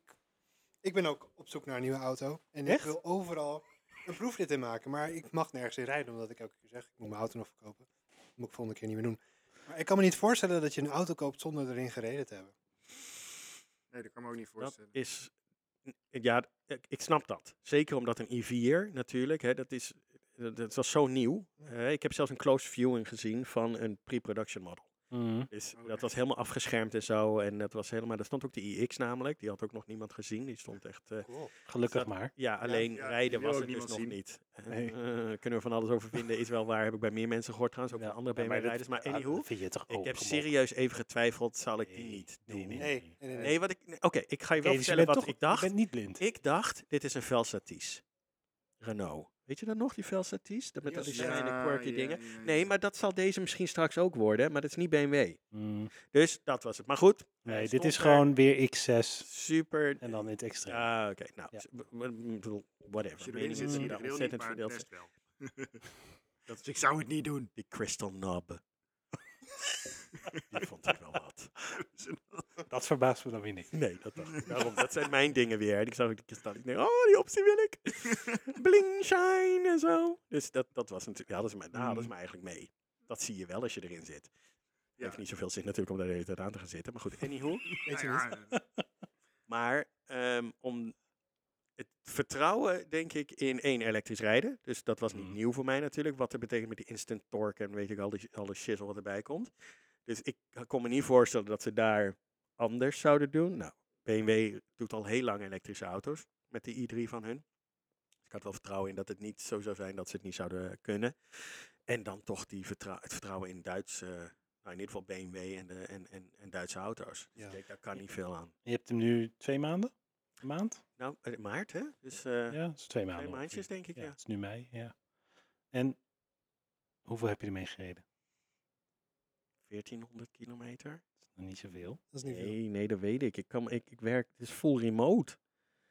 Speaker 4: ik ben ook op zoek naar een nieuwe auto. En
Speaker 2: Echt?
Speaker 4: ik wil overal een proefrit in maken. Maar ik mag nergens in rijden, omdat ik elke keer zeg, ik moet mijn auto nog verkopen. Dat moet ik volgende keer niet meer doen. Maar ik kan me niet voorstellen dat je een auto koopt zonder erin gereden te hebben.
Speaker 3: Nee, dat kan ik me ook niet
Speaker 1: Dat
Speaker 3: voorstellen.
Speaker 1: is. n- Ja, ik, ik snap dat. Zeker omdat een i4 natuurlijk, hè, dat, is, dat, dat was zo nieuw. Eh, ik heb zelfs een close viewing gezien van een pre-production model.
Speaker 2: Mhm.
Speaker 1: Dus
Speaker 3: Oh,
Speaker 1: dat
Speaker 3: echt?
Speaker 1: was helemaal afgeschermd en zo. En dat was helemaal. Daar stond ook de iX namelijk. Die had ook nog niemand gezien. Die stond echt. eh,
Speaker 4: Cool.
Speaker 2: Gelukkig
Speaker 1: Dat-
Speaker 2: maar.
Speaker 1: ja, alleen
Speaker 3: ja,
Speaker 1: rijden
Speaker 3: die wil
Speaker 1: was
Speaker 3: ook
Speaker 1: het dus
Speaker 3: niemand
Speaker 1: nog
Speaker 3: zien.
Speaker 1: niet. Eh,
Speaker 2: Nee.
Speaker 1: eh, kunnen we van alles over vinden. Is wel waar. Heb ik bij meer mensen gehoord trouwens. dus Ook
Speaker 2: Ja,
Speaker 1: van andere
Speaker 2: ja, maar dat-
Speaker 1: BMW-rijders. Maar
Speaker 2: ah,
Speaker 1: anyhow.
Speaker 2: dat vind je toch
Speaker 1: ik heb
Speaker 2: opengebroken.
Speaker 1: serieus even getwijfeld. Zal ik die
Speaker 2: Nee,
Speaker 1: niet
Speaker 2: nee,
Speaker 1: doen?
Speaker 2: nee.
Speaker 4: Nee, nee, nee. nee.
Speaker 1: Nee, wat ik. nee, Oké, ik ga je wel
Speaker 2: Oké, dus
Speaker 1: vertellen
Speaker 2: je bent
Speaker 1: wat
Speaker 2: toch-
Speaker 1: ik dacht.
Speaker 2: Je bent niet blind.
Speaker 1: Ik dacht, dit is een Velsatis. Renault. Weet je dat nog, die Velsatis? Dat met dat
Speaker 4: Ja,
Speaker 1: die kleine quirky
Speaker 3: ja,
Speaker 1: dingen.
Speaker 3: ja, ja,
Speaker 1: Nee,
Speaker 3: ja.
Speaker 1: maar dat zal deze misschien straks ook worden. Maar dat is niet BMW.
Speaker 2: Mm.
Speaker 1: Dus dat was het. Maar goed. hij
Speaker 2: Nee, dit
Speaker 1: stond
Speaker 2: is
Speaker 1: er.
Speaker 2: gewoon weer X6
Speaker 1: Super.
Speaker 2: en dan in het extra.
Speaker 1: Ah, oké. Nou,
Speaker 2: Ja.
Speaker 1: s- w- w- m- bedoel, whatever.
Speaker 3: Als je
Speaker 1: Meningen
Speaker 3: erin zit, zie je
Speaker 1: zijn
Speaker 3: de
Speaker 1: daar
Speaker 3: grill niet,
Speaker 1: ontzettend
Speaker 3: maar de
Speaker 1: verdeeld.
Speaker 3: rest wel. Dus ik zou het niet doen.
Speaker 1: Die crystal knob. Die vond ik wel wat.
Speaker 2: Dat verbaast me dan weer niet.
Speaker 1: Nee, dat dacht ik. Daarom, dat zijn mijn dingen weer. En ik zag ook die kristal. Ik denk, oh, die optie wil ik. Bling, shine en zo. Dus dat, dat was natuurlijk, ja, dat is mij, daar hadden ze me eigenlijk mee. Dat zie je wel als je erin zit.
Speaker 3: Mm. Ja.
Speaker 1: Heeft niet zoveel zin natuurlijk om daar de hele tijd aan te gaan zitten. Maar goed, anyhow.
Speaker 4: Weet je
Speaker 3: Nou
Speaker 4: niet.
Speaker 3: ja,
Speaker 1: Maar ehm, om het vertrouwen, denk ik, in één elektrisch rijden. Dus dat was niet
Speaker 2: Mhm.
Speaker 1: nieuw voor mij natuurlijk. Wat dat betekent met die instant torque en weet ik al die, al die shizzle wat erbij komt. Dus ik kon me niet voorstellen dat ze daar anders zouden doen. Nou, BMW doet al heel lang elektrische auto's met de i3 van hun. Dus ik had wel vertrouwen in dat het niet zo zou zijn dat ze het niet zouden kunnen. En dan toch die vertrou- het vertrouwen in Duits, eh, nou in ieder geval BMW en, de, en, en, en Duitse auto's. Dus
Speaker 4: Ja.
Speaker 1: ik denk, daar kan niet veel aan.
Speaker 2: Je hebt hem nu twee maanden? Een maand?
Speaker 1: Nou, eh, maart hè? Dus eh,
Speaker 2: ja, dat is twee maanden.
Speaker 1: twee
Speaker 2: ongeveer.
Speaker 1: maandjes denk ik,
Speaker 2: Ja,
Speaker 1: ja.
Speaker 2: het is nu mei, ja. En hoeveel heb je ermee gereden?
Speaker 1: 1400 kilometer.
Speaker 2: Dat is nog niet zoveel.
Speaker 4: Dat is niet veel.
Speaker 1: Nee, nee, dat weet ik. Ik, kan, ik, ik werk, het is full remote.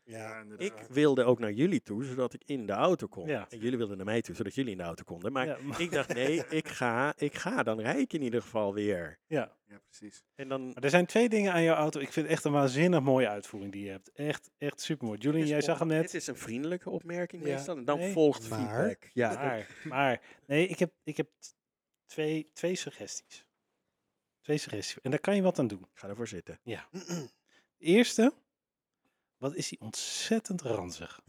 Speaker 4: Ja,
Speaker 1: Ik
Speaker 3: inderdaad.
Speaker 1: wilde ook naar jullie toe, zodat ik in de auto kon.
Speaker 2: Ja.
Speaker 1: En jullie wilden naar mij toe, zodat jullie in de auto konden. Maar
Speaker 2: ja, maar-
Speaker 1: ik dacht, nee, ik ga, ik ga, dan rijd ik in ieder geval weer.
Speaker 2: ja.
Speaker 3: Ja, precies.
Speaker 1: En dan,
Speaker 2: Maar er zijn twee dingen aan jouw auto. Ik vind het echt een waanzinnig mooie uitvoering die je hebt. Echt, echt super mooi. Julian,
Speaker 1: Het
Speaker 2: jij
Speaker 1: is
Speaker 2: zag hem
Speaker 1: on-
Speaker 2: net.
Speaker 1: Het is een vriendelijke opmerking
Speaker 4: Ja.
Speaker 1: meestal. En dan
Speaker 2: Nee.
Speaker 1: volgt
Speaker 4: Maar-
Speaker 1: feedback. Ja.
Speaker 2: Maar, maar nee, ik heb, ik heb t- twee, twee suggesties. Twee suggesties. En daar kan je wat aan doen.
Speaker 1: Ik ga ervoor zitten.
Speaker 2: Eerste, wat is die ontzettend ranzig.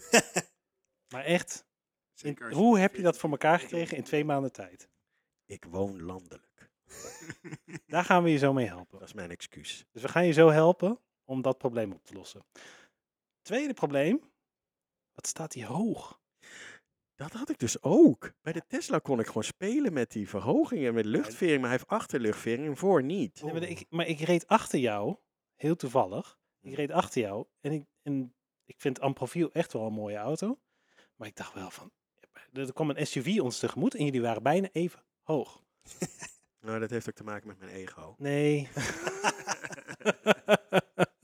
Speaker 2: maar echt, in-
Speaker 3: Zeker als
Speaker 2: hoe heb je dat
Speaker 3: 14
Speaker 2: voor elkaar
Speaker 3: kilometer
Speaker 2: gekregen in twee maanden tijd?
Speaker 1: Ik woon landelijk.
Speaker 2: Daar gaan we je zo mee helpen.
Speaker 1: Dat is mijn excuus.
Speaker 2: Dus we gaan je zo helpen om dat probleem op te lossen. Tweede probleem, wat staat die hoog?
Speaker 1: Dat had ik dus ook. Bij de Tesla kon ik gewoon spelen met die verhogingen, met luchtvering. Maar hij heeft achterluchtvering en voor niet.
Speaker 2: Nee, maar,
Speaker 4: Oeh.
Speaker 2: ik, maar ik reed achter jou, heel toevallig. Ik
Speaker 1: Hm.
Speaker 2: reed achter jou en ik, en ik vind Amprofiel echt wel een mooie auto. Maar ik dacht wel van, er kwam een SUV ons tegemoet en jullie waren bijna even hoog.
Speaker 1: Nou, dat heeft ook te maken met mijn ego.
Speaker 2: Nee,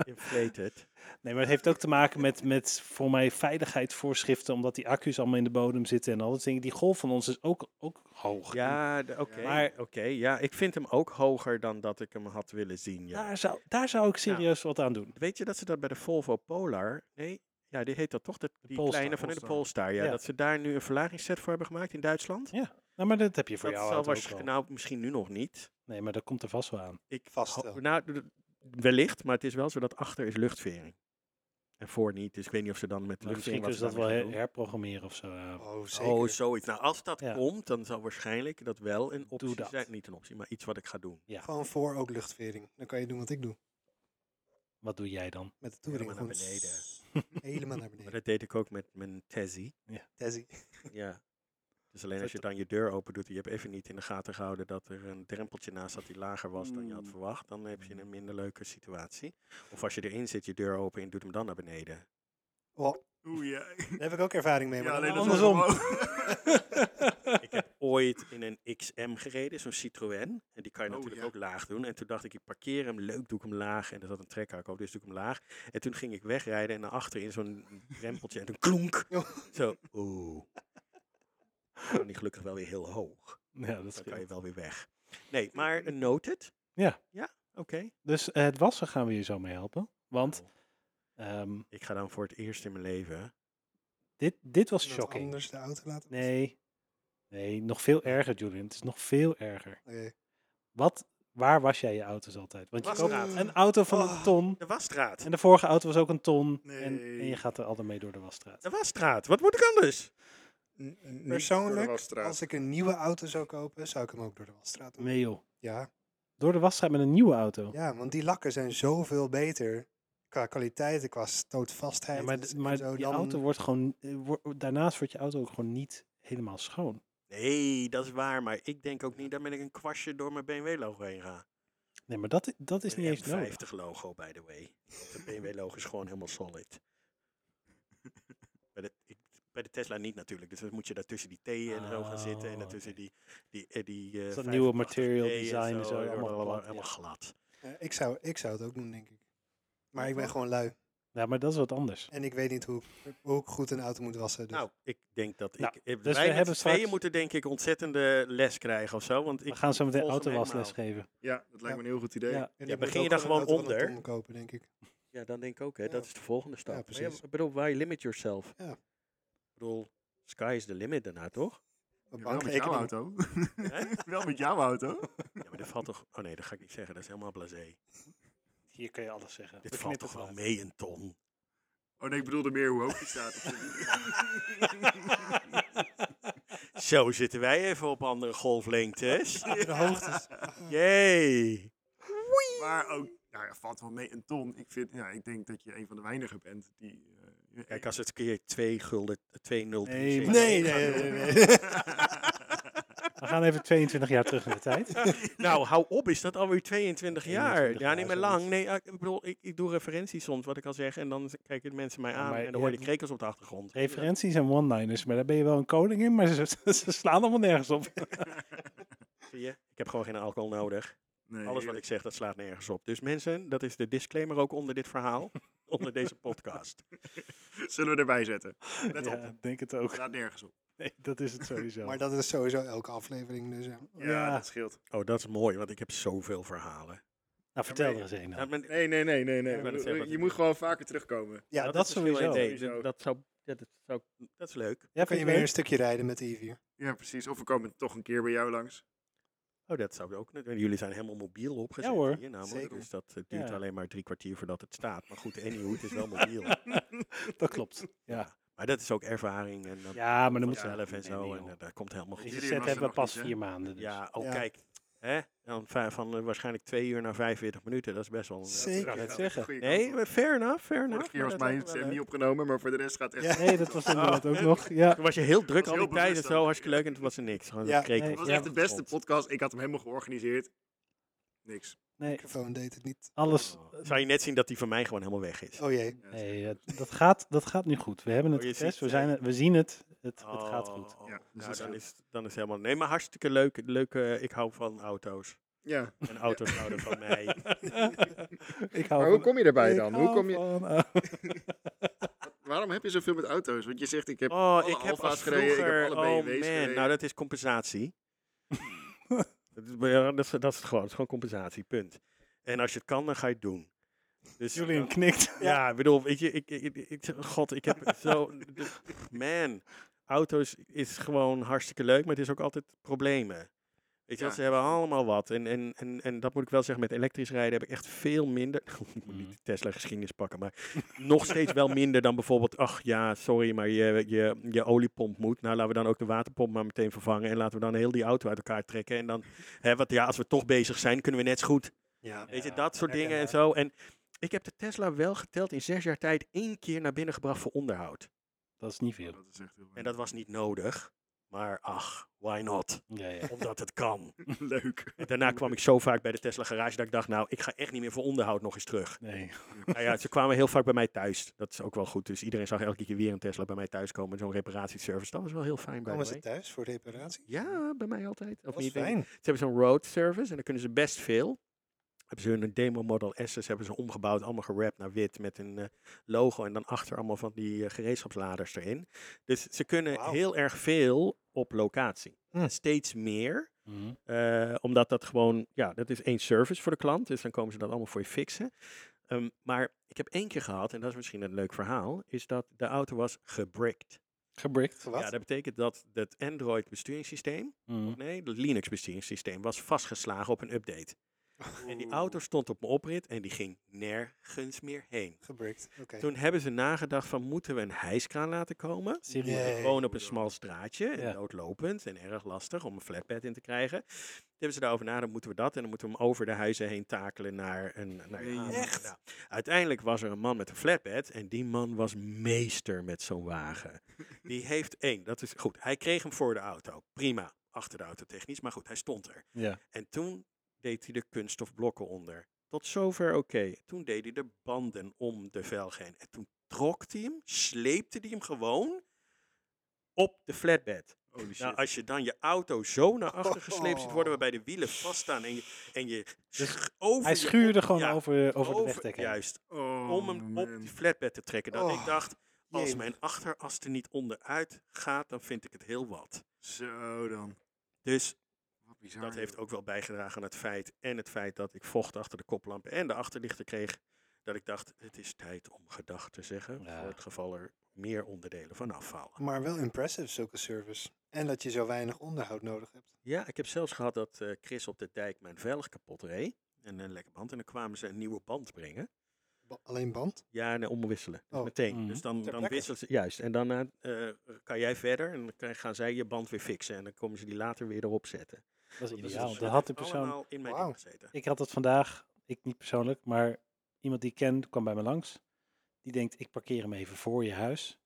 Speaker 1: Inflated.
Speaker 2: Nee, maar het heeft ook te maken met, met voor mij veiligheidsvoorschriften, omdat die accu's allemaal in de bodem zitten en al dat dingen. Die golf van ons is ook, ook hoog. En
Speaker 1: Ja, de- oké.
Speaker 2: Maar-
Speaker 1: oké, ja, ik vind hem ook hoger dan dat ik hem had willen zien. Ja.
Speaker 2: Daar, zou, daar zou ik serieus wat aan doen.
Speaker 1: Weet je dat ze dat bij de Volvo Polar... Nee, ja, die heet dat toch? De, die
Speaker 2: Polestar,
Speaker 1: kleine van de
Speaker 3: Polestar.
Speaker 1: Polestar. Ja,
Speaker 2: Ja.
Speaker 1: Dat ze daar nu een verlagingsset voor hebben gemaakt in Duitsland.
Speaker 2: Nou, maar dat heb je voor
Speaker 1: dat
Speaker 2: jou
Speaker 1: zal
Speaker 2: auto ook
Speaker 1: waarschijnlijk...
Speaker 2: wel.
Speaker 1: Nou, misschien nu nog niet.
Speaker 2: Nee, maar dat komt er vast wel aan.
Speaker 1: Ik
Speaker 4: Vast
Speaker 1: ho-
Speaker 4: wel.
Speaker 1: Nou, d- d- wellicht, maar het is wel zo dat achter is luchtvering. En voor niet, dus ik weet niet of ze dan met de
Speaker 2: Maar misschien
Speaker 1: luchtvering...
Speaker 2: kunnen ze
Speaker 1: wat
Speaker 2: dat
Speaker 1: ze
Speaker 2: wel
Speaker 1: daarmee
Speaker 2: her-
Speaker 1: gaan doen.
Speaker 2: herprogrammeren of zo. eh, ja.
Speaker 4: Oh,
Speaker 1: Oh,
Speaker 4: zeker.
Speaker 1: zoiets. Nou, als dat
Speaker 2: Ja.
Speaker 1: komt, dan zal waarschijnlijk dat wel een optie
Speaker 2: dat.
Speaker 1: zijn. Niet een optie, maar iets wat ik ga doen.
Speaker 4: Gewoon voor ook luchtvering. Dan kan je doen wat ik doe.
Speaker 2: Wat doe jij dan?
Speaker 4: Met de touring.
Speaker 1: Helemaal naar
Speaker 4: gewoon Helemaal naar
Speaker 1: Maar
Speaker 4: beneden.
Speaker 1: dat deed ik ook met mijn Tezzy.
Speaker 4: Tessie.
Speaker 1: Ja. Dus alleen als
Speaker 2: Dat-
Speaker 1: je dan je deur open doet, en je hebt even niet in de gaten gehouden dat er een drempeltje naast zat die lager was dan je had
Speaker 2: Mm.
Speaker 1: verwacht, dan heb je een minder leuke situatie. Of als je erin zit, je deur open en je doet hem dan naar beneden.
Speaker 4: Oh,
Speaker 3: Oeh, ja.
Speaker 4: daar heb ik ook ervaring mee. Maar
Speaker 3: Ja,
Speaker 4: dan-
Speaker 3: alleen dat
Speaker 2: andersom.
Speaker 3: andersom.
Speaker 1: Ik heb ooit in een XM gereden, zo'n Citroën. En die kan je
Speaker 3: Oh,
Speaker 1: natuurlijk
Speaker 3: ja.
Speaker 1: ook laag doen. En toen dacht ik, ik parkeer hem, leuk doe ik hem laag. En er zat een trekhaak op, dus doe ik hem laag. En toen ging ik wegrijden en naar achter in zo'n drempeltje. En toen klonk.
Speaker 4: Oh.
Speaker 1: Zo, oeh. Dan die gelukkig wel weer heel hoog.
Speaker 2: Ja, dat
Speaker 1: Dan kan je
Speaker 2: scheelt.
Speaker 1: wel weer weg. Nee, maar een noted?
Speaker 2: Ja.
Speaker 1: Ja, oké.
Speaker 2: Dus eh, het wassen gaan we je zo mee helpen. Want
Speaker 1: Nou,
Speaker 2: ehm,
Speaker 1: Ik ga dan voor het eerst in mijn leven...
Speaker 2: dit, dit was
Speaker 4: iemand
Speaker 2: shocking.
Speaker 4: anders de auto laten.
Speaker 2: Nee. Nee, nog veel erger, Julian. Het is nog veel erger.
Speaker 4: Oké.
Speaker 2: Wat, waar was jij je auto's altijd? Want je
Speaker 1: Was
Speaker 2: koopt
Speaker 1: raad.
Speaker 2: een auto van een
Speaker 4: Oh.
Speaker 2: ton.
Speaker 1: De wasstraat.
Speaker 2: En de vorige auto was ook een ton. En, en je
Speaker 3: Nee.
Speaker 2: gaat er altijd mee door de wasstraat.
Speaker 1: De wasstraat. Wat moet ik anders?
Speaker 4: Persoonlijk,
Speaker 3: Als
Speaker 4: Als ik een nieuwe auto zou kopen, zou ik hem ook door de wasstraat doen.
Speaker 2: Nee joh.
Speaker 4: Ja.
Speaker 2: Door de wasstraat met een nieuwe auto. Ja,
Speaker 4: ja, want die lakken zijn zoveel beter. Qua kwaliteit en qua stootvastheid.
Speaker 2: maar
Speaker 4: en
Speaker 2: d-
Speaker 4: zo
Speaker 2: maar
Speaker 4: dan-
Speaker 2: je auto wordt gewoon... eh, wo- daarnaast wordt je auto ook gewoon niet helemaal schoon.
Speaker 1: Nee, dat is waar. Maar ik denk ook niet dat ben ik een kwastje door mijn BMW-logo heen ga.
Speaker 2: Nee, maar dat, dat is niet eens nodig.
Speaker 1: 50 logo, by the way. Want De BMW-logo is gewoon helemaal solid. bij, de, ik- bij de Tesla niet natuurlijk. Dus dan moet je daartussen die T en zo gaan zitten. En
Speaker 2: Oh,
Speaker 1: daartussen
Speaker 2: oké.
Speaker 1: die... die, eh, die eh,
Speaker 2: Dus dat nieuwe
Speaker 1: 85T
Speaker 2: material
Speaker 1: en
Speaker 2: design en zo, allemaal glad,
Speaker 1: Helemaal
Speaker 2: ja.
Speaker 1: glad.
Speaker 4: Ja, eh, ik, zou, ik zou het ook doen, denk ik. Maar ik ben gewoon lui.
Speaker 2: Ja, Nou, maar dat is wat anders.
Speaker 4: En ik weet niet hoe ik, hoe ik goed een auto moet wassen. Dus.
Speaker 1: Nou, ik denk dat ik.
Speaker 2: Nou,
Speaker 1: eh,
Speaker 2: we
Speaker 1: wij met
Speaker 2: hebben
Speaker 1: z'n tweeën
Speaker 2: straks-
Speaker 1: moeten denk ik ontzettende les krijgen of zo. Want ik
Speaker 2: We gaan zo meteen
Speaker 1: volg hem
Speaker 2: autowasles
Speaker 1: helemaal.
Speaker 2: geven.
Speaker 3: Ja, dat lijkt me een heel goed idee.
Speaker 2: Ja.
Speaker 4: En
Speaker 1: ja,
Speaker 4: ik
Speaker 1: maar
Speaker 4: moet
Speaker 1: ging je
Speaker 4: ook
Speaker 1: daar
Speaker 4: een
Speaker 1: gewoon
Speaker 4: auto van een
Speaker 1: onder?
Speaker 4: ton kopen, denk ik.
Speaker 1: Ja, dan denk ik ook. Hè,
Speaker 4: Ja.
Speaker 1: Dat is de volgende stap.
Speaker 4: Ja,
Speaker 1: Maar ja,
Speaker 4: precies.
Speaker 1: ik bedoel, why limit yourself?
Speaker 4: Ja.
Speaker 1: Ik bedoel, sky is the limit daarna, toch?
Speaker 4: Een
Speaker 3: Wel met jouw
Speaker 4: bankrekening.
Speaker 3: auto. Wel met jouw auto.
Speaker 1: ja, maar dat valt toch... Oh nee, dat ga ik niet zeggen. Dat is helemaal blasé.
Speaker 2: Hier kun je alles zeggen.
Speaker 1: Dit valt toch wel mee, een ton?
Speaker 3: Oh nee, ik bedoelde meer hoe hoog die staat.
Speaker 1: Zo zitten wij even op andere golflengtes.
Speaker 4: De hoogtes.
Speaker 1: Jee.
Speaker 3: maar ook, nou ja, valt wel mee een ton. Ik, vind, ja, ik denk dat je een van de weinigen bent die eh,
Speaker 1: Kijk, als het keer 2 gulden, 203
Speaker 2: Nee,
Speaker 1: cent-
Speaker 4: Nee,
Speaker 1: gaan
Speaker 4: nee,
Speaker 1: doen.
Speaker 4: nee, nee, nee.
Speaker 2: We gaan even 22 jaar terug in de tijd.
Speaker 1: Nou, hou op, is dat alweer 22 jaar?
Speaker 2: 21
Speaker 1: Ja, niet
Speaker 2: jaar,
Speaker 1: meer lang.
Speaker 2: zoiets.
Speaker 1: Nee, ah, ik bedoel, ik, ik doe referenties soms, wat ik al zeg. En dan z- kijken mensen mij
Speaker 2: Ja,
Speaker 1: aan
Speaker 2: maar
Speaker 1: en
Speaker 2: je
Speaker 1: dan hoor je
Speaker 2: hebt-
Speaker 1: de krekels op de achtergrond.
Speaker 2: Referenties en one-liners, maar daar ben je wel een koning in, maar ze, ze slaan allemaal nergens op.
Speaker 1: Zie je? Ik heb gewoon geen alcohol nodig.
Speaker 3: Nee,
Speaker 1: Alles wat ik zeg, dat slaat nergens op. Dus mensen, dat is de disclaimer ook onder dit verhaal. onder deze podcast.
Speaker 3: Zullen we erbij zetten? Let
Speaker 2: ja,
Speaker 3: op.
Speaker 2: denk het ook.
Speaker 3: Laat nergens op.
Speaker 2: Nee, dat is het sowieso. Nou,
Speaker 4: Maar dat is sowieso elke aflevering. Dus, ja.
Speaker 3: Ja,
Speaker 2: Ja.
Speaker 3: dat scheelt.
Speaker 1: Oh, dat is mooi, want ik heb zoveel verhalen.
Speaker 2: nou, vertel er eens een
Speaker 1: Ja,
Speaker 2: dan.
Speaker 1: maar-
Speaker 3: Nee, nee, nee, nee.
Speaker 1: Ik wou net
Speaker 3: nee.
Speaker 1: zeggen,
Speaker 3: je moet gewoon vaker terugkomen.
Speaker 4: ja,
Speaker 1: Nou,
Speaker 4: dat,
Speaker 1: is
Speaker 4: is
Speaker 1: misschien wel
Speaker 2: sowieso.
Speaker 1: een idee. Dat, dat zou, dat, dat zou, dat is leuk.
Speaker 2: Ja,
Speaker 4: kun
Speaker 2: vind
Speaker 4: je
Speaker 2: je
Speaker 4: weer een
Speaker 2: leuk?
Speaker 4: stukje rijden met de E i4.
Speaker 3: Ja, precies. Of we komen toch een keer bij jou langs.
Speaker 1: Oh, dat zou ook. kunnen. Jullie zijn helemaal mobiel opgezet
Speaker 2: Ja, hoor.
Speaker 1: hier namelijk.
Speaker 4: Zeker.
Speaker 1: Dus dat eh, duurt
Speaker 2: Ja.
Speaker 1: alleen maar drie kwartier voordat het staat. Maar goed, anyhow, het is wel mobiel.
Speaker 2: Dat klopt. Ja,
Speaker 1: Maar dat is ook ervaring en dat
Speaker 2: ja maar dan moet
Speaker 1: vanzelf en
Speaker 2: nee, nee,
Speaker 1: zo. en
Speaker 2: joh.
Speaker 1: eh, dat komt helemaal goed.
Speaker 2: Deze
Speaker 3: Jullie
Speaker 2: set
Speaker 3: was er
Speaker 2: hebben we
Speaker 3: nog
Speaker 2: pas
Speaker 3: niet, hè?
Speaker 2: vier maanden. Dus.
Speaker 1: Ja, oh
Speaker 4: Ja.
Speaker 1: kijk. Hè? Dan va- van eh, waarschijnlijk twee uur naar 45 minuten. Dat is best wel... een-
Speaker 4: Zeker.
Speaker 2: wou net zeggen.
Speaker 3: Goeie kant
Speaker 1: Nee,
Speaker 3: op.
Speaker 1: maar fair enough, fair enough.
Speaker 3: Vorige keer
Speaker 1: maar
Speaker 3: was
Speaker 1: dat
Speaker 3: mijn
Speaker 1: is wel
Speaker 3: stem
Speaker 1: leuk.
Speaker 3: niet opgenomen, maar voor de rest gaat echt...
Speaker 4: Ja.
Speaker 2: Nee, dat was inderdaad ook nog. Ja.
Speaker 1: Toen was je heel druk
Speaker 3: was
Speaker 1: al die
Speaker 3: heel
Speaker 1: tijd en
Speaker 3: bewust
Speaker 1: zo.
Speaker 3: ook.
Speaker 1: Hartstikke leuk en toen was er niks. Gewoon
Speaker 4: Ja.
Speaker 1: een krekel.
Speaker 2: Nee,
Speaker 3: Het was
Speaker 2: Ja,
Speaker 3: echt de
Speaker 1: dat
Speaker 3: beste
Speaker 1: klopt.
Speaker 3: podcast. Ik had hem helemaal georganiseerd. Niks.
Speaker 2: Nee,
Speaker 4: Microfoon deed het niet.
Speaker 2: alles.
Speaker 1: Oh. Zou je net zien dat die van mij gewoon helemaal weg is.
Speaker 4: Oh jee.
Speaker 3: Ja,
Speaker 2: Nee, dat, dat, gaat, dat gaat nu goed. We hebben het
Speaker 1: Oh, je
Speaker 2: getest,
Speaker 1: ziet,
Speaker 2: we,
Speaker 1: eh,
Speaker 2: zijn, het- we zien het. Het, het gaat
Speaker 1: Oh,
Speaker 2: goed.
Speaker 1: oh,
Speaker 3: Ja, dus
Speaker 1: nou,
Speaker 3: dat is
Speaker 1: dan,
Speaker 3: goed.
Speaker 1: is, dan is helemaal... Nee, maar hartstikke leuk. Leuke, ik hou van auto's.
Speaker 3: Ja.
Speaker 1: En auto's houden van mij.
Speaker 2: ik eh, hou
Speaker 3: Maar hoe kom je daarbij dan? Hoe kom je...
Speaker 2: je...
Speaker 3: Waarom heb je zoveel met auto's? Want je zegt, ik heb
Speaker 1: Oh,
Speaker 3: alle
Speaker 1: ik heb
Speaker 3: Alfa's
Speaker 1: als
Speaker 3: gereden, ik heb
Speaker 1: vroeger...
Speaker 3: alle
Speaker 1: oh
Speaker 3: BMW's
Speaker 1: man,
Speaker 3: gereden.
Speaker 1: nou dat is compensatie. dat, is, ja, dat, is, dat is het gewoon, het is gewoon compensatie, punt. En als je het kan, dan ga je het doen. Dus,
Speaker 2: Julian knikt.
Speaker 1: ja, ik bedoel, weet je, ik, ik, ik, ik- god, ik heb zo, de- man, auto's is gewoon hartstikke leuk, maar het is ook altijd problemen. Weet je,
Speaker 3: Ja.
Speaker 1: wel, ze hebben allemaal wat. En, en, en, en dat moet ik wel zeggen, met elektrisch rijden heb ik echt veel minder. ik moet niet de Tesla geschiedenis pakken, maar nog steeds wel minder dan bijvoorbeeld. Ach ja, sorry, maar je, je, je oliepomp moet. Nou, laten we dan ook de waterpomp maar meteen vervangen. En laten we dan heel die auto uit elkaar trekken. En dan, hè, wat, ja, als we toch bezig zijn, kunnen we net zo goed
Speaker 4: Ja.
Speaker 1: Weet je,
Speaker 2: Ja,
Speaker 1: dat soort dingen en zo. En ik heb de Tesla wel geteld in zes jaar tijd één keer naar binnen gebracht voor onderhoud.
Speaker 2: Dat is niet veel.
Speaker 3: Dat is echt heel
Speaker 1: En dat was niet nodig. Maar ach, why not?
Speaker 2: Ja, ja.
Speaker 1: Omdat het kan.
Speaker 3: leuk.
Speaker 1: En daarna kwam ik zo vaak bij de Tesla garage dat ik dacht, nou, ik ga echt niet meer voor onderhoud nog eens terug.
Speaker 2: Nee.
Speaker 1: Nou ja, ze kwamen heel vaak bij mij thuis. Dat is ook wel goed. Dus iedereen zag elke keer weer een Tesla bij mij thuis komen. Zo'n reparatieservice. Dat was wel heel fijn bij
Speaker 4: Komen ze
Speaker 1: mij.
Speaker 4: thuis voor reparatie?
Speaker 1: Ja, bij mij altijd. Of
Speaker 4: Dat is
Speaker 1: niet,
Speaker 4: fijn.
Speaker 1: Ze hebben zo'n road service en dan kunnen ze best veel. Hebben ze hun demo Model S's hebben ze omgebouwd, allemaal gerapt naar wit met een eh, logo en dan achter allemaal van die eh, gereedschapsladers erin. Dus ze kunnen
Speaker 4: Wauw.
Speaker 1: heel erg veel op locatie.
Speaker 4: Hm.
Speaker 1: Steeds meer,
Speaker 2: Mhm.
Speaker 1: eh, omdat dat gewoon, ja, dat is één service voor de klant, dus dan komen ze dat allemaal voor je fixen. Ehm, maar ik heb één keer gehad, en dat is misschien een leuk verhaal, is dat de auto was gebrikt.
Speaker 2: Gebrikt.
Speaker 4: Wat?
Speaker 1: Ja, dat betekent dat het Android besturingssysteem
Speaker 2: Mm.
Speaker 1: Nee, het Linux besturingssysteem was vastgeslagen op een update. En die
Speaker 3: Oeh.
Speaker 1: auto stond op mijn oprit en die ging nergens meer heen.
Speaker 4: Gebrikt. Oké.
Speaker 1: Toen hebben ze nagedacht van moeten we een hijskraan laten komen?
Speaker 2: Serieus.
Speaker 4: Nee.
Speaker 1: Gewoon op een smal straatje en
Speaker 2: Ja.
Speaker 1: doodlopend en erg lastig om een flatbed in te krijgen. Toen hebben ze daarover nagedacht, moeten we dat en dan moeten we hem over de huizen heen takelen naar een... Naar
Speaker 3: Nee,
Speaker 1: een-
Speaker 4: echt?
Speaker 1: Nou, uiteindelijk was er een man met een flatbed en die man was meester met zo'n wagen. Die heeft één, dat is goed, hij kreeg hem voor de auto, prima, achter de auto technisch, maar goed, hij stond er.
Speaker 2: Ja.
Speaker 1: En toen deed hij de kunststofblokken onder. Tot zover oké. Toen deed hij de banden om de velg heen. En toen trok hij hem, sleepte hij hem gewoon op de flatbed.
Speaker 3: Holy shit.
Speaker 1: Nou, als je dan je auto zo naar achter gesleept ziet worden, waarbij de wielen vaststaan en je, en je sch- over
Speaker 2: Oh. Dus Hij
Speaker 1: je
Speaker 2: schuurde
Speaker 1: op-
Speaker 2: gewoon
Speaker 1: ja,
Speaker 2: over, over de wegdek heen.
Speaker 1: Juist,
Speaker 3: Oh,
Speaker 1: om hem op
Speaker 3: man.
Speaker 1: die flatbed te trekken. Dat ik
Speaker 4: Oh,
Speaker 1: dacht, als
Speaker 4: jemig.
Speaker 1: mijn achteras er niet onderuit gaat, dan vind ik het heel wat.
Speaker 3: Zo dan.
Speaker 1: Dus
Speaker 3: Wat bizar.
Speaker 1: Dat heeft
Speaker 3: joh.
Speaker 1: ook wel bijgedragen aan het feit. En het feit dat ik vocht achter de koplampen en de achterlichten kreeg. Dat ik dacht, het is tijd om gedag te zeggen.
Speaker 2: Ja.
Speaker 1: Voor het geval er meer onderdelen van afvallen.
Speaker 4: Maar wel impressive, zulke service. En dat je zo weinig onderhoud nodig hebt.
Speaker 1: Ja, ik heb zelfs gehad dat eh, Chris op de dijk mijn velg kapot reed. En een lekker band. En dan kwamen ze een nieuwe band brengen.
Speaker 4: Ba- alleen band?
Speaker 1: Ja, en eh, omwisselen. Dus
Speaker 4: Oh.
Speaker 1: meteen.
Speaker 2: Mhm.
Speaker 1: Dus dan,
Speaker 4: Ter
Speaker 1: dan
Speaker 4: plekke.
Speaker 1: wisselen ze. Juist. En daarna eh, kan jij verder. En dan gaan zij je band weer fixen. En dan komen ze die later weer erop zetten.
Speaker 2: Dat is
Speaker 1: Dus
Speaker 2: ideaal.
Speaker 1: het
Speaker 2: Dat had de
Speaker 1: heeft
Speaker 2: persoon
Speaker 1: allemaal in mijn
Speaker 4: Wauw.
Speaker 1: ding gezeten.
Speaker 2: Ik had het vandaag, ik niet persoonlijk, maar iemand die ik ken kwam bij me langs. Die denkt, ik parkeer hem even voor je huis.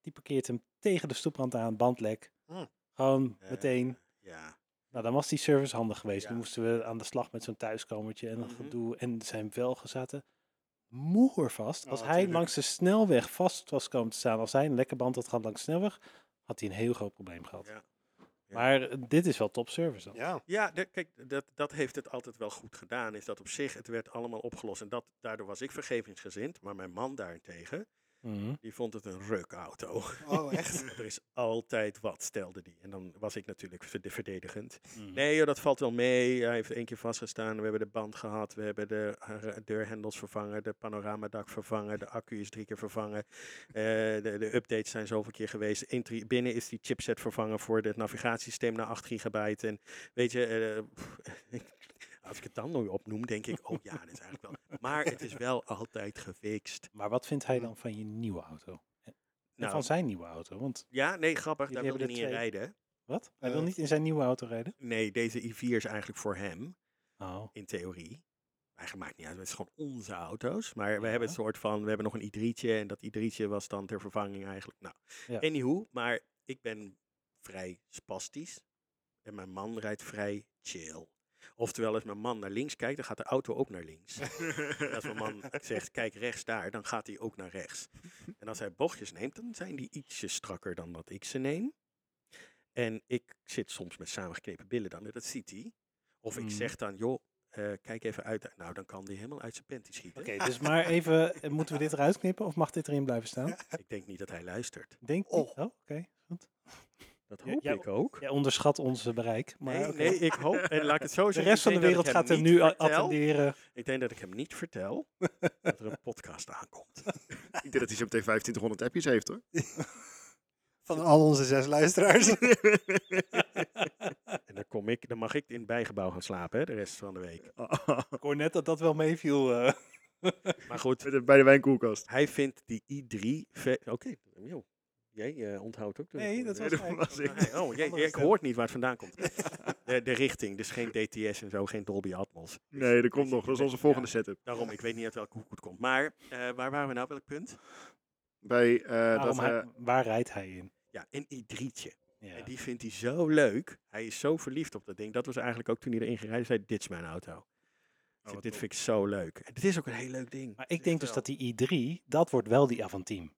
Speaker 2: Die parkeert hem tegen de stoeprand aan, bandlek.
Speaker 4: Hm.
Speaker 2: Gewoon
Speaker 1: Eh,
Speaker 2: meteen.
Speaker 1: Ja.
Speaker 2: Nou, dan was die service handig geweest.
Speaker 1: Ja.
Speaker 2: Dan moesten we aan de slag met zo'n thuiskomertje en een
Speaker 1: Mhm.
Speaker 2: gedoe. En zijn velgezaten moervast.
Speaker 4: Oh,
Speaker 2: Als hij
Speaker 4: tuurlijk.
Speaker 2: langs de snelweg vast was komen te staan, als hij een lekke band had gehad langs de snelweg, had hij een heel groot probleem gehad.
Speaker 1: Ja. Ja.
Speaker 2: Maar eh, dit is wel top service dan.
Speaker 4: Ja.
Speaker 1: Ja, de- kijk, dat, dat heeft het altijd wel goed gedaan. Is dat op zich, het werd allemaal opgelost. En dat, daardoor was ik vergevingsgezind. Maar mijn man daarentegen,
Speaker 2: Mhm.
Speaker 1: die vond het een reukauto.
Speaker 4: Oh, echt?
Speaker 1: er is altijd wat, stelde die. En dan was ik natuurlijk verde- verdedigend.
Speaker 2: Mhm.
Speaker 1: Nee, joh, dat valt wel mee. Hij heeft één keer vastgestaan. We hebben de band gehad. We hebben de eh, deurhendels vervangen. De panoramadak vervangen. De accu is drie keer vervangen. eh, de, de updates zijn zoveel keer geweest. Intri- binnen is die chipset vervangen voor het navigatiesysteem naar 8 gigabyte. En weet je, eh, pff, als ik het dan nog opnoem, denk ik, oh ja, dat is eigenlijk wel. Maar het is wel altijd gefixt.
Speaker 2: Maar wat vindt hij
Speaker 1: Mhm.
Speaker 4: Hm.
Speaker 2: dan van je nieuwe auto? En
Speaker 1: Nou,
Speaker 2: van zijn nieuwe auto? Want
Speaker 1: ja, nee, grappig.
Speaker 2: Jullie
Speaker 1: Daar wilde
Speaker 2: hebben
Speaker 1: ik
Speaker 2: er
Speaker 1: niet in rijden.
Speaker 2: twee.
Speaker 1: hè.
Speaker 2: wat? Hij wil
Speaker 4: Eh,
Speaker 2: niet in zijn nieuwe auto rijden?
Speaker 1: Nee, deze i4 is eigenlijk voor hem,
Speaker 2: Oh.
Speaker 1: in theorie. Eigenlijk maakt niet uit, het is gewoon onze auto's. Maar we hebben het soort van, we hebben nog een i3'tje. En dat i3'tje was dan ter vervanging eigenlijk. Nou,
Speaker 2: Ja.
Speaker 1: anywho, maar ik ben vrij spastisch. En mijn man rijdt vrij chill. Oftewel, als mijn man naar links kijkt, dan gaat de auto ook naar links. En als mijn man zegt, kijk rechts daar, dan gaat hij ook naar rechts. En als hij bochtjes neemt, dan zijn die ietsje strakker dan dat ik ze neem. En ik zit soms met samengeknepen billen dan, en dat ziet hij. Of ik
Speaker 2: Mhm.
Speaker 1: zeg dan, joh, eh, kijk even uit. Nou, dan kan die helemaal uit zijn panty schieten.
Speaker 2: Oké, dus maar even, eh, moeten we dit eruit knippen of mag dit erin blijven staan?
Speaker 1: Ik denk niet dat hij luistert.
Speaker 2: Denk
Speaker 4: Oh.
Speaker 2: oh. oh oké. Goed.
Speaker 1: Dat
Speaker 2: Ja,
Speaker 1: hoop
Speaker 2: jij-
Speaker 1: ik ook.
Speaker 2: Jij onderschat onze bereik. Maar
Speaker 1: Nee,
Speaker 2: oké.
Speaker 1: nee, ik hoop, en laat ik het zo
Speaker 2: De
Speaker 1: zeggen.
Speaker 2: rest van de
Speaker 1: ik denk
Speaker 2: wereld
Speaker 1: dat ik
Speaker 2: gaat
Speaker 1: hem
Speaker 2: hem
Speaker 1: niet
Speaker 2: nu a-
Speaker 1: vertel.
Speaker 2: attenderen.
Speaker 1: Ik denk dat ik hem niet vertel dat er een podcast aankomt.
Speaker 3: Ik denk dat hij zo meteen 2500 appjes heeft hoor.
Speaker 4: Van al onze zes luisteraars.
Speaker 1: En dan, kom ik, dan mag ik in het bijgebouw gaan slapen, hè, de rest van de week.
Speaker 2: Ik hoor net dat dat wel meeviel. eh.
Speaker 1: Maar goed,
Speaker 3: Met het- Bij de wijnkoelkast.
Speaker 1: hij vindt die i3... ve- Oké, joh. jij eh, onthoudt ook. de-
Speaker 2: Nee, dat
Speaker 1: de-
Speaker 2: was
Speaker 1: de-
Speaker 2: hij.
Speaker 3: was ik.
Speaker 1: Nee, Oh, jij,
Speaker 2: Andere
Speaker 1: ik
Speaker 2: stem.
Speaker 1: hoort niet waar het vandaan komt. De, de richting, dus geen DTS en zo, geen Dolby Atmos.
Speaker 3: Nee, dat komt nog. Dat is onze volgende setup.
Speaker 1: Daarom, ik weet niet uit welke hoek het komt. Maar eh, waar waren we nou, welk punt?
Speaker 3: Bij eh dat,
Speaker 2: Waarom hij-
Speaker 3: eh,
Speaker 2: waar rijdt hij in?
Speaker 1: Ja, een i3'tje.
Speaker 2: Ja.
Speaker 1: En die vindt hij zo leuk. Hij is zo verliefd op dat ding. Dat was eigenlijk ook toen hij erin gereden zei, dit is mijn auto. Ik zeg,
Speaker 3: wat
Speaker 1: dit
Speaker 3: top.
Speaker 1: vind ik zo leuk. En het is ook een heel leuk ding.
Speaker 2: Maar ik denk dus dat die i3, dat wordt wel die Avantime.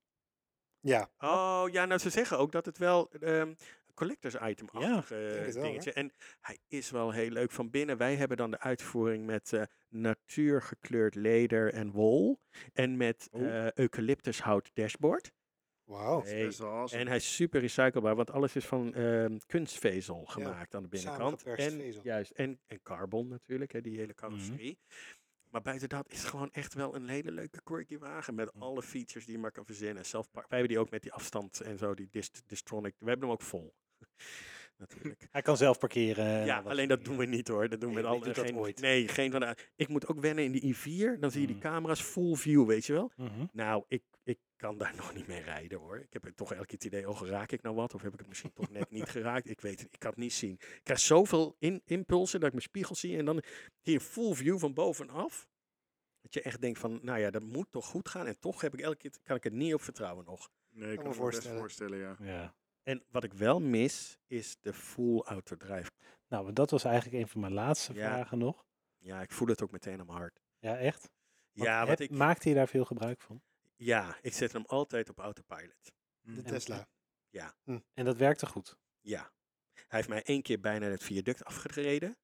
Speaker 4: ja.
Speaker 1: Oh, ja, nou ze zeggen ook dat het wel ehm collectors item achtig
Speaker 4: denk het wel, hè?
Speaker 1: dingetje. En hij is wel heel leuk van binnen. Wij hebben dan de uitvoering met eh, natuurgekleurd leder en wol. En met
Speaker 3: Oh.
Speaker 1: eh eucalyptushout dashboard.
Speaker 4: Wauw.
Speaker 3: dat is best wel awesome.
Speaker 1: En hij is super recyclebaar, want alles is van ehm, kunstvezel gemaakt aan de binnenkant.
Speaker 4: samengeperst
Speaker 1: En,
Speaker 4: vezel.
Speaker 1: juist, en, en carbon natuurlijk, hè, die hele carrosserie. Maar buiten dat is het gewoon echt wel een hele leuke quirky wagen. Met alle features die je maar kan verzinnen. Zelf, wij hebben die ook met die afstand en zo, die dist, distronic. We hebben hem ook vol. natuurlijk.
Speaker 2: Hij kan zelf parkeren. en
Speaker 1: Ja,
Speaker 2: al dat
Speaker 1: alleen dat
Speaker 2: soort dingen.
Speaker 1: doen we niet hoor. Dat doen
Speaker 2: Nee,
Speaker 1: we
Speaker 2: wie
Speaker 1: met al
Speaker 2: doet dat
Speaker 1: geen,
Speaker 2: ooit?
Speaker 1: Nee, geen van de. Ik moet ook wennen in die i4. Dan zie je die
Speaker 2: Mm.
Speaker 1: camera's full view, weet je wel.
Speaker 2: Mhm.
Speaker 1: Nou, ik, ik kan daar nog niet mee rijden hoor. Ik heb het toch elke keer het idee, oh raak ik nou wat? Of heb ik het misschien toch net niet geraakt? Ik weet het, ik kan het niet zien. Ik krijg zoveel in, impulsen dat ik mijn spiegel zie. En dan hier full view van bovenaf. Dat je echt denkt van, nou ja, dat moet toch goed gaan. En toch heb ik elke keer, kan ik het niet op vertrouwen nog.
Speaker 3: Nee, ik
Speaker 4: me
Speaker 3: kan me best
Speaker 4: voorstellen.
Speaker 3: voorstellen, ja.
Speaker 2: Ja.
Speaker 1: En wat ik wel mis, is de full autodrive.
Speaker 2: Nou, maar dat was eigenlijk een van mijn laatste
Speaker 1: Ja.
Speaker 2: vragen nog.
Speaker 1: Ja, ik voel het ook meteen aan mijn hart.
Speaker 2: Ja, echt? Want
Speaker 1: Ja,
Speaker 2: heb-
Speaker 1: want ik,
Speaker 2: Maakte je daar veel gebruik van?
Speaker 1: ja, ik zet hem altijd op autopilot.
Speaker 4: De
Speaker 2: En-
Speaker 4: Tesla.
Speaker 2: En dat werkte goed.
Speaker 1: Ja. Hij heeft mij één keer bijna het viaduct afgereden.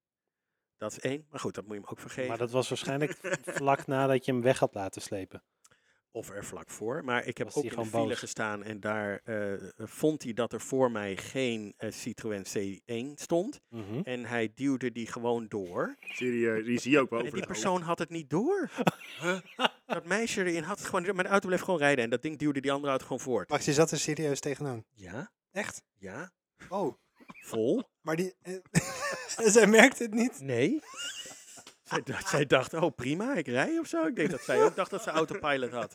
Speaker 1: Dat is één. Maar goed, dat moet je hem ook vergeven.
Speaker 2: Maar dat was waarschijnlijk vlak nadat je hem weg had laten slepen.
Speaker 1: Of er vlak voor. Maar ik heb
Speaker 2: Was
Speaker 1: ook
Speaker 2: hij
Speaker 1: in de
Speaker 2: gewoon
Speaker 1: file
Speaker 2: boos?
Speaker 1: gestaan. En daar eh, vond hij dat er voor mij geen eh, Citroën C1 stond.
Speaker 2: Mhm.
Speaker 1: En hij duwde die gewoon door.
Speaker 3: Serieus, die zie je ook wel
Speaker 1: en
Speaker 3: over
Speaker 1: die
Speaker 3: het
Speaker 1: persoon had het niet door. Huh? Dat meisje erin had het gewoon... niet door. Maar de auto bleef gewoon rijden. En dat ding duwde die andere auto gewoon voort.
Speaker 4: Max, je zat er serieus tegenaan.
Speaker 1: Ja,
Speaker 4: Echt?
Speaker 1: ja.
Speaker 4: Oh.
Speaker 1: Vol?
Speaker 4: Maar die... eh, zij merkt het niet.
Speaker 1: Nee. zij, dacht, zij dacht, oh prima, ik rij of zo. Ik denk dat zij ook dacht dat ze autopilot had.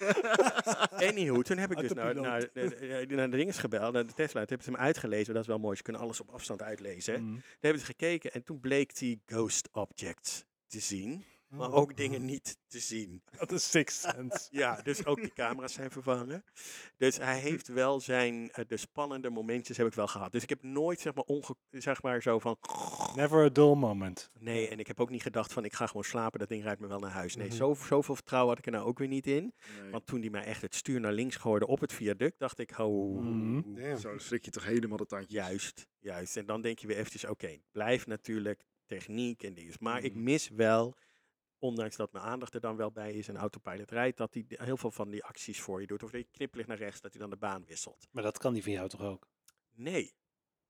Speaker 1: Anywho, toen heb ik dus naar, naar, de- de- de- naar de dinges gebeld, naar de Tesla. Toen hebben ze hem uitgelezen, dat is wel mooi. Ze kunnen alles op afstand uitlezen. hè.
Speaker 2: Mhm.
Speaker 1: Toen hebben ze gekeken en toen bleek die ghost objects te zien. maar ook
Speaker 4: Oh.
Speaker 1: dingen niet te zien.
Speaker 2: Dat is Six Sense.
Speaker 1: Ja, dus ook die camera's zijn vervangen. Dus hij heeft wel zijn, eh, de spannende momentjes heb ik wel gehad. Dus ik heb nooit zeg maar, onge zeg maar zo van,
Speaker 2: Never a dull moment.
Speaker 1: nee, en ik heb ook niet gedacht van, ik ga gewoon slapen, dat ding rijdt me wel naar huis. Nee,
Speaker 2: Mhm.
Speaker 1: zo, zoveel vertrouwen had ik er nou ook weer niet in.
Speaker 3: Nee.
Speaker 1: Want toen die mij echt het stuur naar links gooide op het viaduct, dacht ik, oh,
Speaker 2: Mhm.
Speaker 4: Damn.
Speaker 3: Zo schrik je toch helemaal de tandjes.
Speaker 1: Juist, juist. En dan denk je weer eventjes, oké, blijf natuurlijk techniek en dingen. Maar
Speaker 2: Mhm.
Speaker 1: ik mis wel, ondanks dat mijn aandacht er dan wel bij is en autopilot rijdt, dat hij heel veel van die acties voor je doet. Of dat je knipplicht naar rechts, dat hij dan de baan wisselt.
Speaker 2: Maar dat kan die van jou toch ook?
Speaker 1: Nee,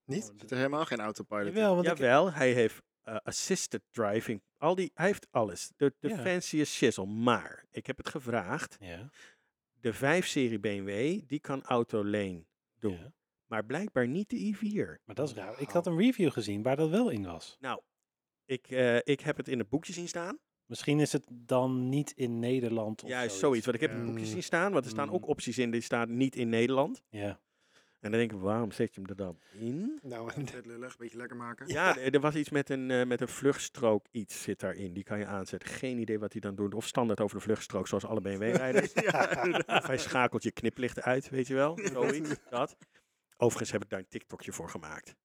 Speaker 4: Niet?
Speaker 3: Er zit er helemaal geen autopilot in.
Speaker 2: Jawel, want ik,
Speaker 1: jawel, hij heeft eh, assisted driving. Al die, hij heeft alles. De, de
Speaker 2: Ja.
Speaker 1: fanciest shizzle. Maar, ik heb het gevraagd,
Speaker 2: ja,
Speaker 1: de 5-serie BMW, die kan autolane doen.
Speaker 2: ja.
Speaker 1: Maar blijkbaar niet de i4.
Speaker 2: Maar dat is raar. Ik had een review gezien waar dat wel in was.
Speaker 1: Nou, ik, eh, ik heb het in het boekje zien staan.
Speaker 2: Misschien is het dan niet in Nederland of
Speaker 1: Juist zoiets, want ik heb
Speaker 3: Ja.
Speaker 1: een boekje
Speaker 4: Mm.
Speaker 1: zien staan, want er staan ook
Speaker 2: Mm.
Speaker 1: opties in, die staan niet in Nederland.
Speaker 2: Ja.
Speaker 1: En dan denk ik, waarom zet je hem er dan in?
Speaker 4: Nou,
Speaker 3: Niet vet lullig, beetje lekker maken.
Speaker 1: Ja, er er was iets met een, eh, met een vluchtstrook, iets zit daarin, die kan je aanzetten. Geen idee wat hij dan doet, of standaard over de vluchtstrook, zoals alle BMW-rijders. of hij schakelt je kniplicht uit, weet je wel, zoiets, dat. Overigens heb ik daar een TikTokje voor gemaakt.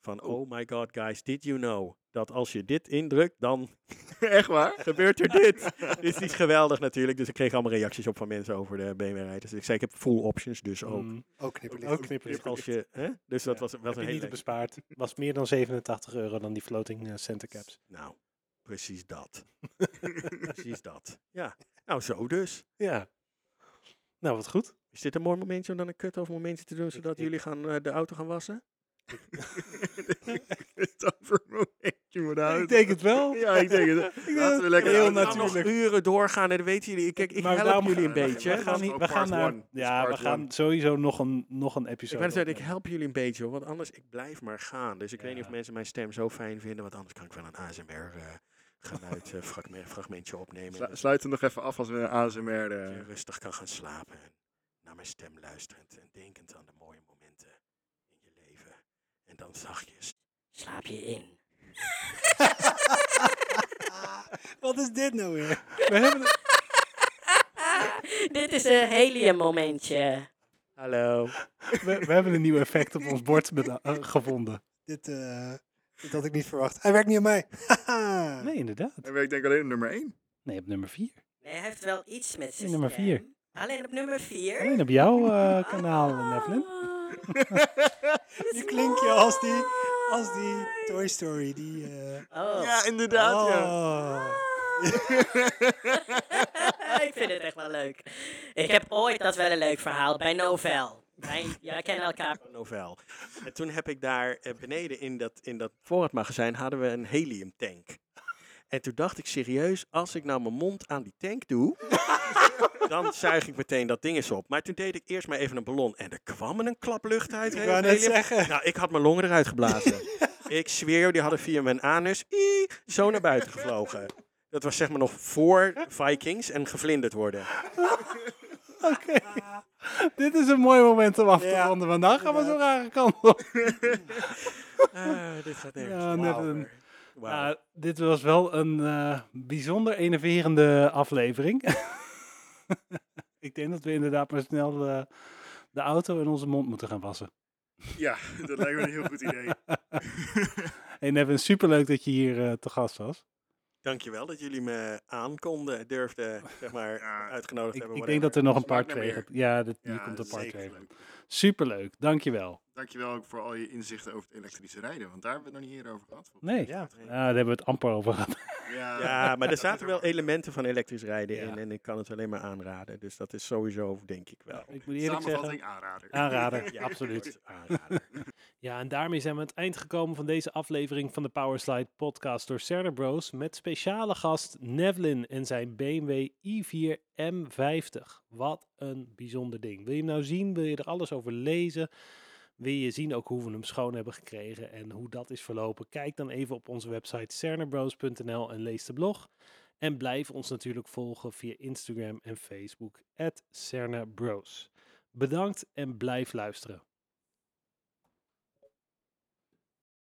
Speaker 1: Van, oh my god guys, did you know, dat als je dit indrukt, dan
Speaker 3: Echt waar?
Speaker 1: gebeurt er dit? dit is iets geweldig natuurlijk. Dus ik kreeg allemaal reacties op van mensen over de BMW-rijders. Dus ik zei, ik heb full options dus ook.
Speaker 2: Mm.
Speaker 4: ook knipperlicht.
Speaker 2: Ook
Speaker 1: Dus,
Speaker 2: knipperlicht.
Speaker 1: als je, hè? dus dat
Speaker 2: Ja.
Speaker 1: was,
Speaker 2: Heb
Speaker 1: was
Speaker 2: je
Speaker 1: een
Speaker 2: niet
Speaker 1: hele...
Speaker 2: bespaard. Was meer dan 87 euro dan die floating eh, center caps.
Speaker 1: Nou, precies dat. precies dat. Ja, nou zo dus.
Speaker 2: Ja. Nou, wat goed.
Speaker 1: Is dit een mooi momentje om dan een cut-off momentje te doen, zodat
Speaker 2: ik-
Speaker 1: jullie gaan, eh, de auto gaan wassen?
Speaker 3: Het over een momentje moet houden.
Speaker 2: Ik denk het wel.
Speaker 3: Ja, ik denk het. Laten we lekker
Speaker 2: heel
Speaker 3: aan-
Speaker 1: Nou,
Speaker 2: natuurlijk.
Speaker 1: nog uren doorgaan en dan weten jullie, kijk, ik
Speaker 2: Maar
Speaker 1: help
Speaker 2: daarom-
Speaker 1: jullie een
Speaker 3: Ja,
Speaker 1: beetje.
Speaker 3: maar
Speaker 2: We
Speaker 3: dat
Speaker 2: gaan,
Speaker 3: was
Speaker 2: niet,
Speaker 3: ook
Speaker 2: we
Speaker 3: part
Speaker 2: gaan naar...
Speaker 3: one. Dat is
Speaker 2: Ja, we
Speaker 3: part
Speaker 2: gaan
Speaker 3: one.
Speaker 2: sowieso nog een, nog een
Speaker 1: Ik
Speaker 2: episode
Speaker 1: ben zeggen, ik
Speaker 2: opnemen.
Speaker 1: help jullie een beetje, hoor, want anders, ik blijf maar gaan. Dus ik weet niet of
Speaker 2: Ja.
Speaker 1: mensen mijn stem zo fijn vinden, want anders kan ik wel een eh, ASMR-geluid, eh, fragmentje opnemen.
Speaker 3: Slu-
Speaker 2: dus-
Speaker 1: en
Speaker 3: Sluit hem nog even af als we een ASMR...
Speaker 1: dat je
Speaker 3: De...
Speaker 1: rustig kan gaan slapen en naar mijn stem luisterend en denkend aan de mooie momenten in je leven. En dan zachtjes.
Speaker 6: Slaap je in.
Speaker 4: Ah, Wat is dit nou weer?
Speaker 2: We hebben het-
Speaker 6: Ah, Dit is een helium momentje.
Speaker 1: Hallo.
Speaker 2: We, we hebben een nieuw effect op ons bord beda- eh, gevonden.
Speaker 4: Dit, eh, dit had ik niet verwacht. Hij werkt niet aan mij. Haha.
Speaker 2: Nee, inderdaad.
Speaker 3: En ik denk alleen op nummer 1.
Speaker 2: Nee, op nummer 4.
Speaker 6: Nee, hij heeft wel iets met zijn
Speaker 2: Nummer
Speaker 6: stem.
Speaker 2: vier.
Speaker 6: Alleen op nummer 4?
Speaker 2: Alleen op jouw eh, kanaal, Nevlin.
Speaker 6: Ah.
Speaker 4: Nu klink je als die, als die Toy Story. Die, eh,
Speaker 6: Oh.
Speaker 3: inderdaad,
Speaker 4: oh.
Speaker 6: ik vind het echt wel leuk. Ik heb ooit dat wel een leuk verhaal bij Novel. Wij, jij kennen elkaar.
Speaker 1: Novel. En toen heb ik daar eh, beneden in dat, in dat voorraadmagazijn hadden we een heliumtank. En toen dacht ik serieus, als ik nou mijn mond aan die tank doe, dan zuig ik meteen dat ding eens op. Maar toen deed ik eerst maar even een ballon en er kwam een klap lucht uit.
Speaker 4: Ik
Speaker 1: hè,
Speaker 4: wou
Speaker 1: van
Speaker 4: net
Speaker 1: helium.
Speaker 4: zeggen.
Speaker 1: Nou, ik had mijn longen eruit geblazen. ik zweer, jou, die hadden via mijn anus ii, zo naar buiten gevlogen. Dat was zeg maar nog voor Vikings en gevlinderd worden.
Speaker 2: Oké. Dit is een mooi moment om af te
Speaker 4: Ja,
Speaker 2: ronden. Want dan gaan we zo rare kant op.
Speaker 1: Ah, dit gaat nergens.
Speaker 2: Ja,
Speaker 1: op.
Speaker 2: Nevlin.
Speaker 1: Wauw.
Speaker 2: Nou, dit was wel een eh, bijzonder enerverende aflevering. Ik denk dat we inderdaad maar snel eh, de auto in onze mond moeten gaan wassen.
Speaker 3: Ja, dat lijkt me een heel goed idee.
Speaker 2: Hey Nevin, superleuk dat je hier eh, te gast was.
Speaker 1: Dankjewel dat jullie me aankonden, durfden, zeg maar,
Speaker 3: Ja,
Speaker 1: uitgenodigd
Speaker 2: Ik,
Speaker 1: hebben.
Speaker 2: ik
Speaker 1: whatever.
Speaker 2: denk dat er nog een
Speaker 3: Smaak
Speaker 2: part
Speaker 3: naar
Speaker 2: 2
Speaker 3: meer.
Speaker 2: gaat. Ja, dit, hier
Speaker 3: Ja,
Speaker 2: komt een part
Speaker 3: zeker
Speaker 2: 2.
Speaker 3: leuk.
Speaker 2: Superleuk, dankjewel.
Speaker 3: Dankjewel ook voor al je inzichten over het elektrische rijden, want daar hebben we het nog niet eerder over gehad. volgens
Speaker 2: Nee,
Speaker 4: Ja.
Speaker 2: Ah, daar hebben we het amper over gehad.
Speaker 3: mij. Ja,
Speaker 1: Ja, maar er
Speaker 3: dat
Speaker 1: zaten
Speaker 3: is
Speaker 1: wel
Speaker 3: ook-
Speaker 1: elementen van elektrisch rijden
Speaker 2: Ja.
Speaker 1: in en ik kan het alleen maar aanraden. Dus dat is sowieso, denk ik wel.
Speaker 2: Ik moet eerlijk zeggen,
Speaker 3: Samenvatting aanrader.
Speaker 2: aanrader, absoluut.
Speaker 1: Aanrader.
Speaker 2: Ja, en daarmee zijn we aan het eind gekomen van deze aflevering van de Powerslide podcast door Cerner Bros. Met speciale gast Nevlin en zijn BMW i4 M50. Wat een bijzonder ding. Wil je hem nou zien? Wil je er alles over lezen? Wil je zien ook hoe we hem schoon hebben gekregen en hoe dat is verlopen? Kijk dan even op onze website cernerbros.nl en lees de blog. En blijf ons natuurlijk volgen via Instagram en Facebook, at Bros. Bedankt en blijf luisteren.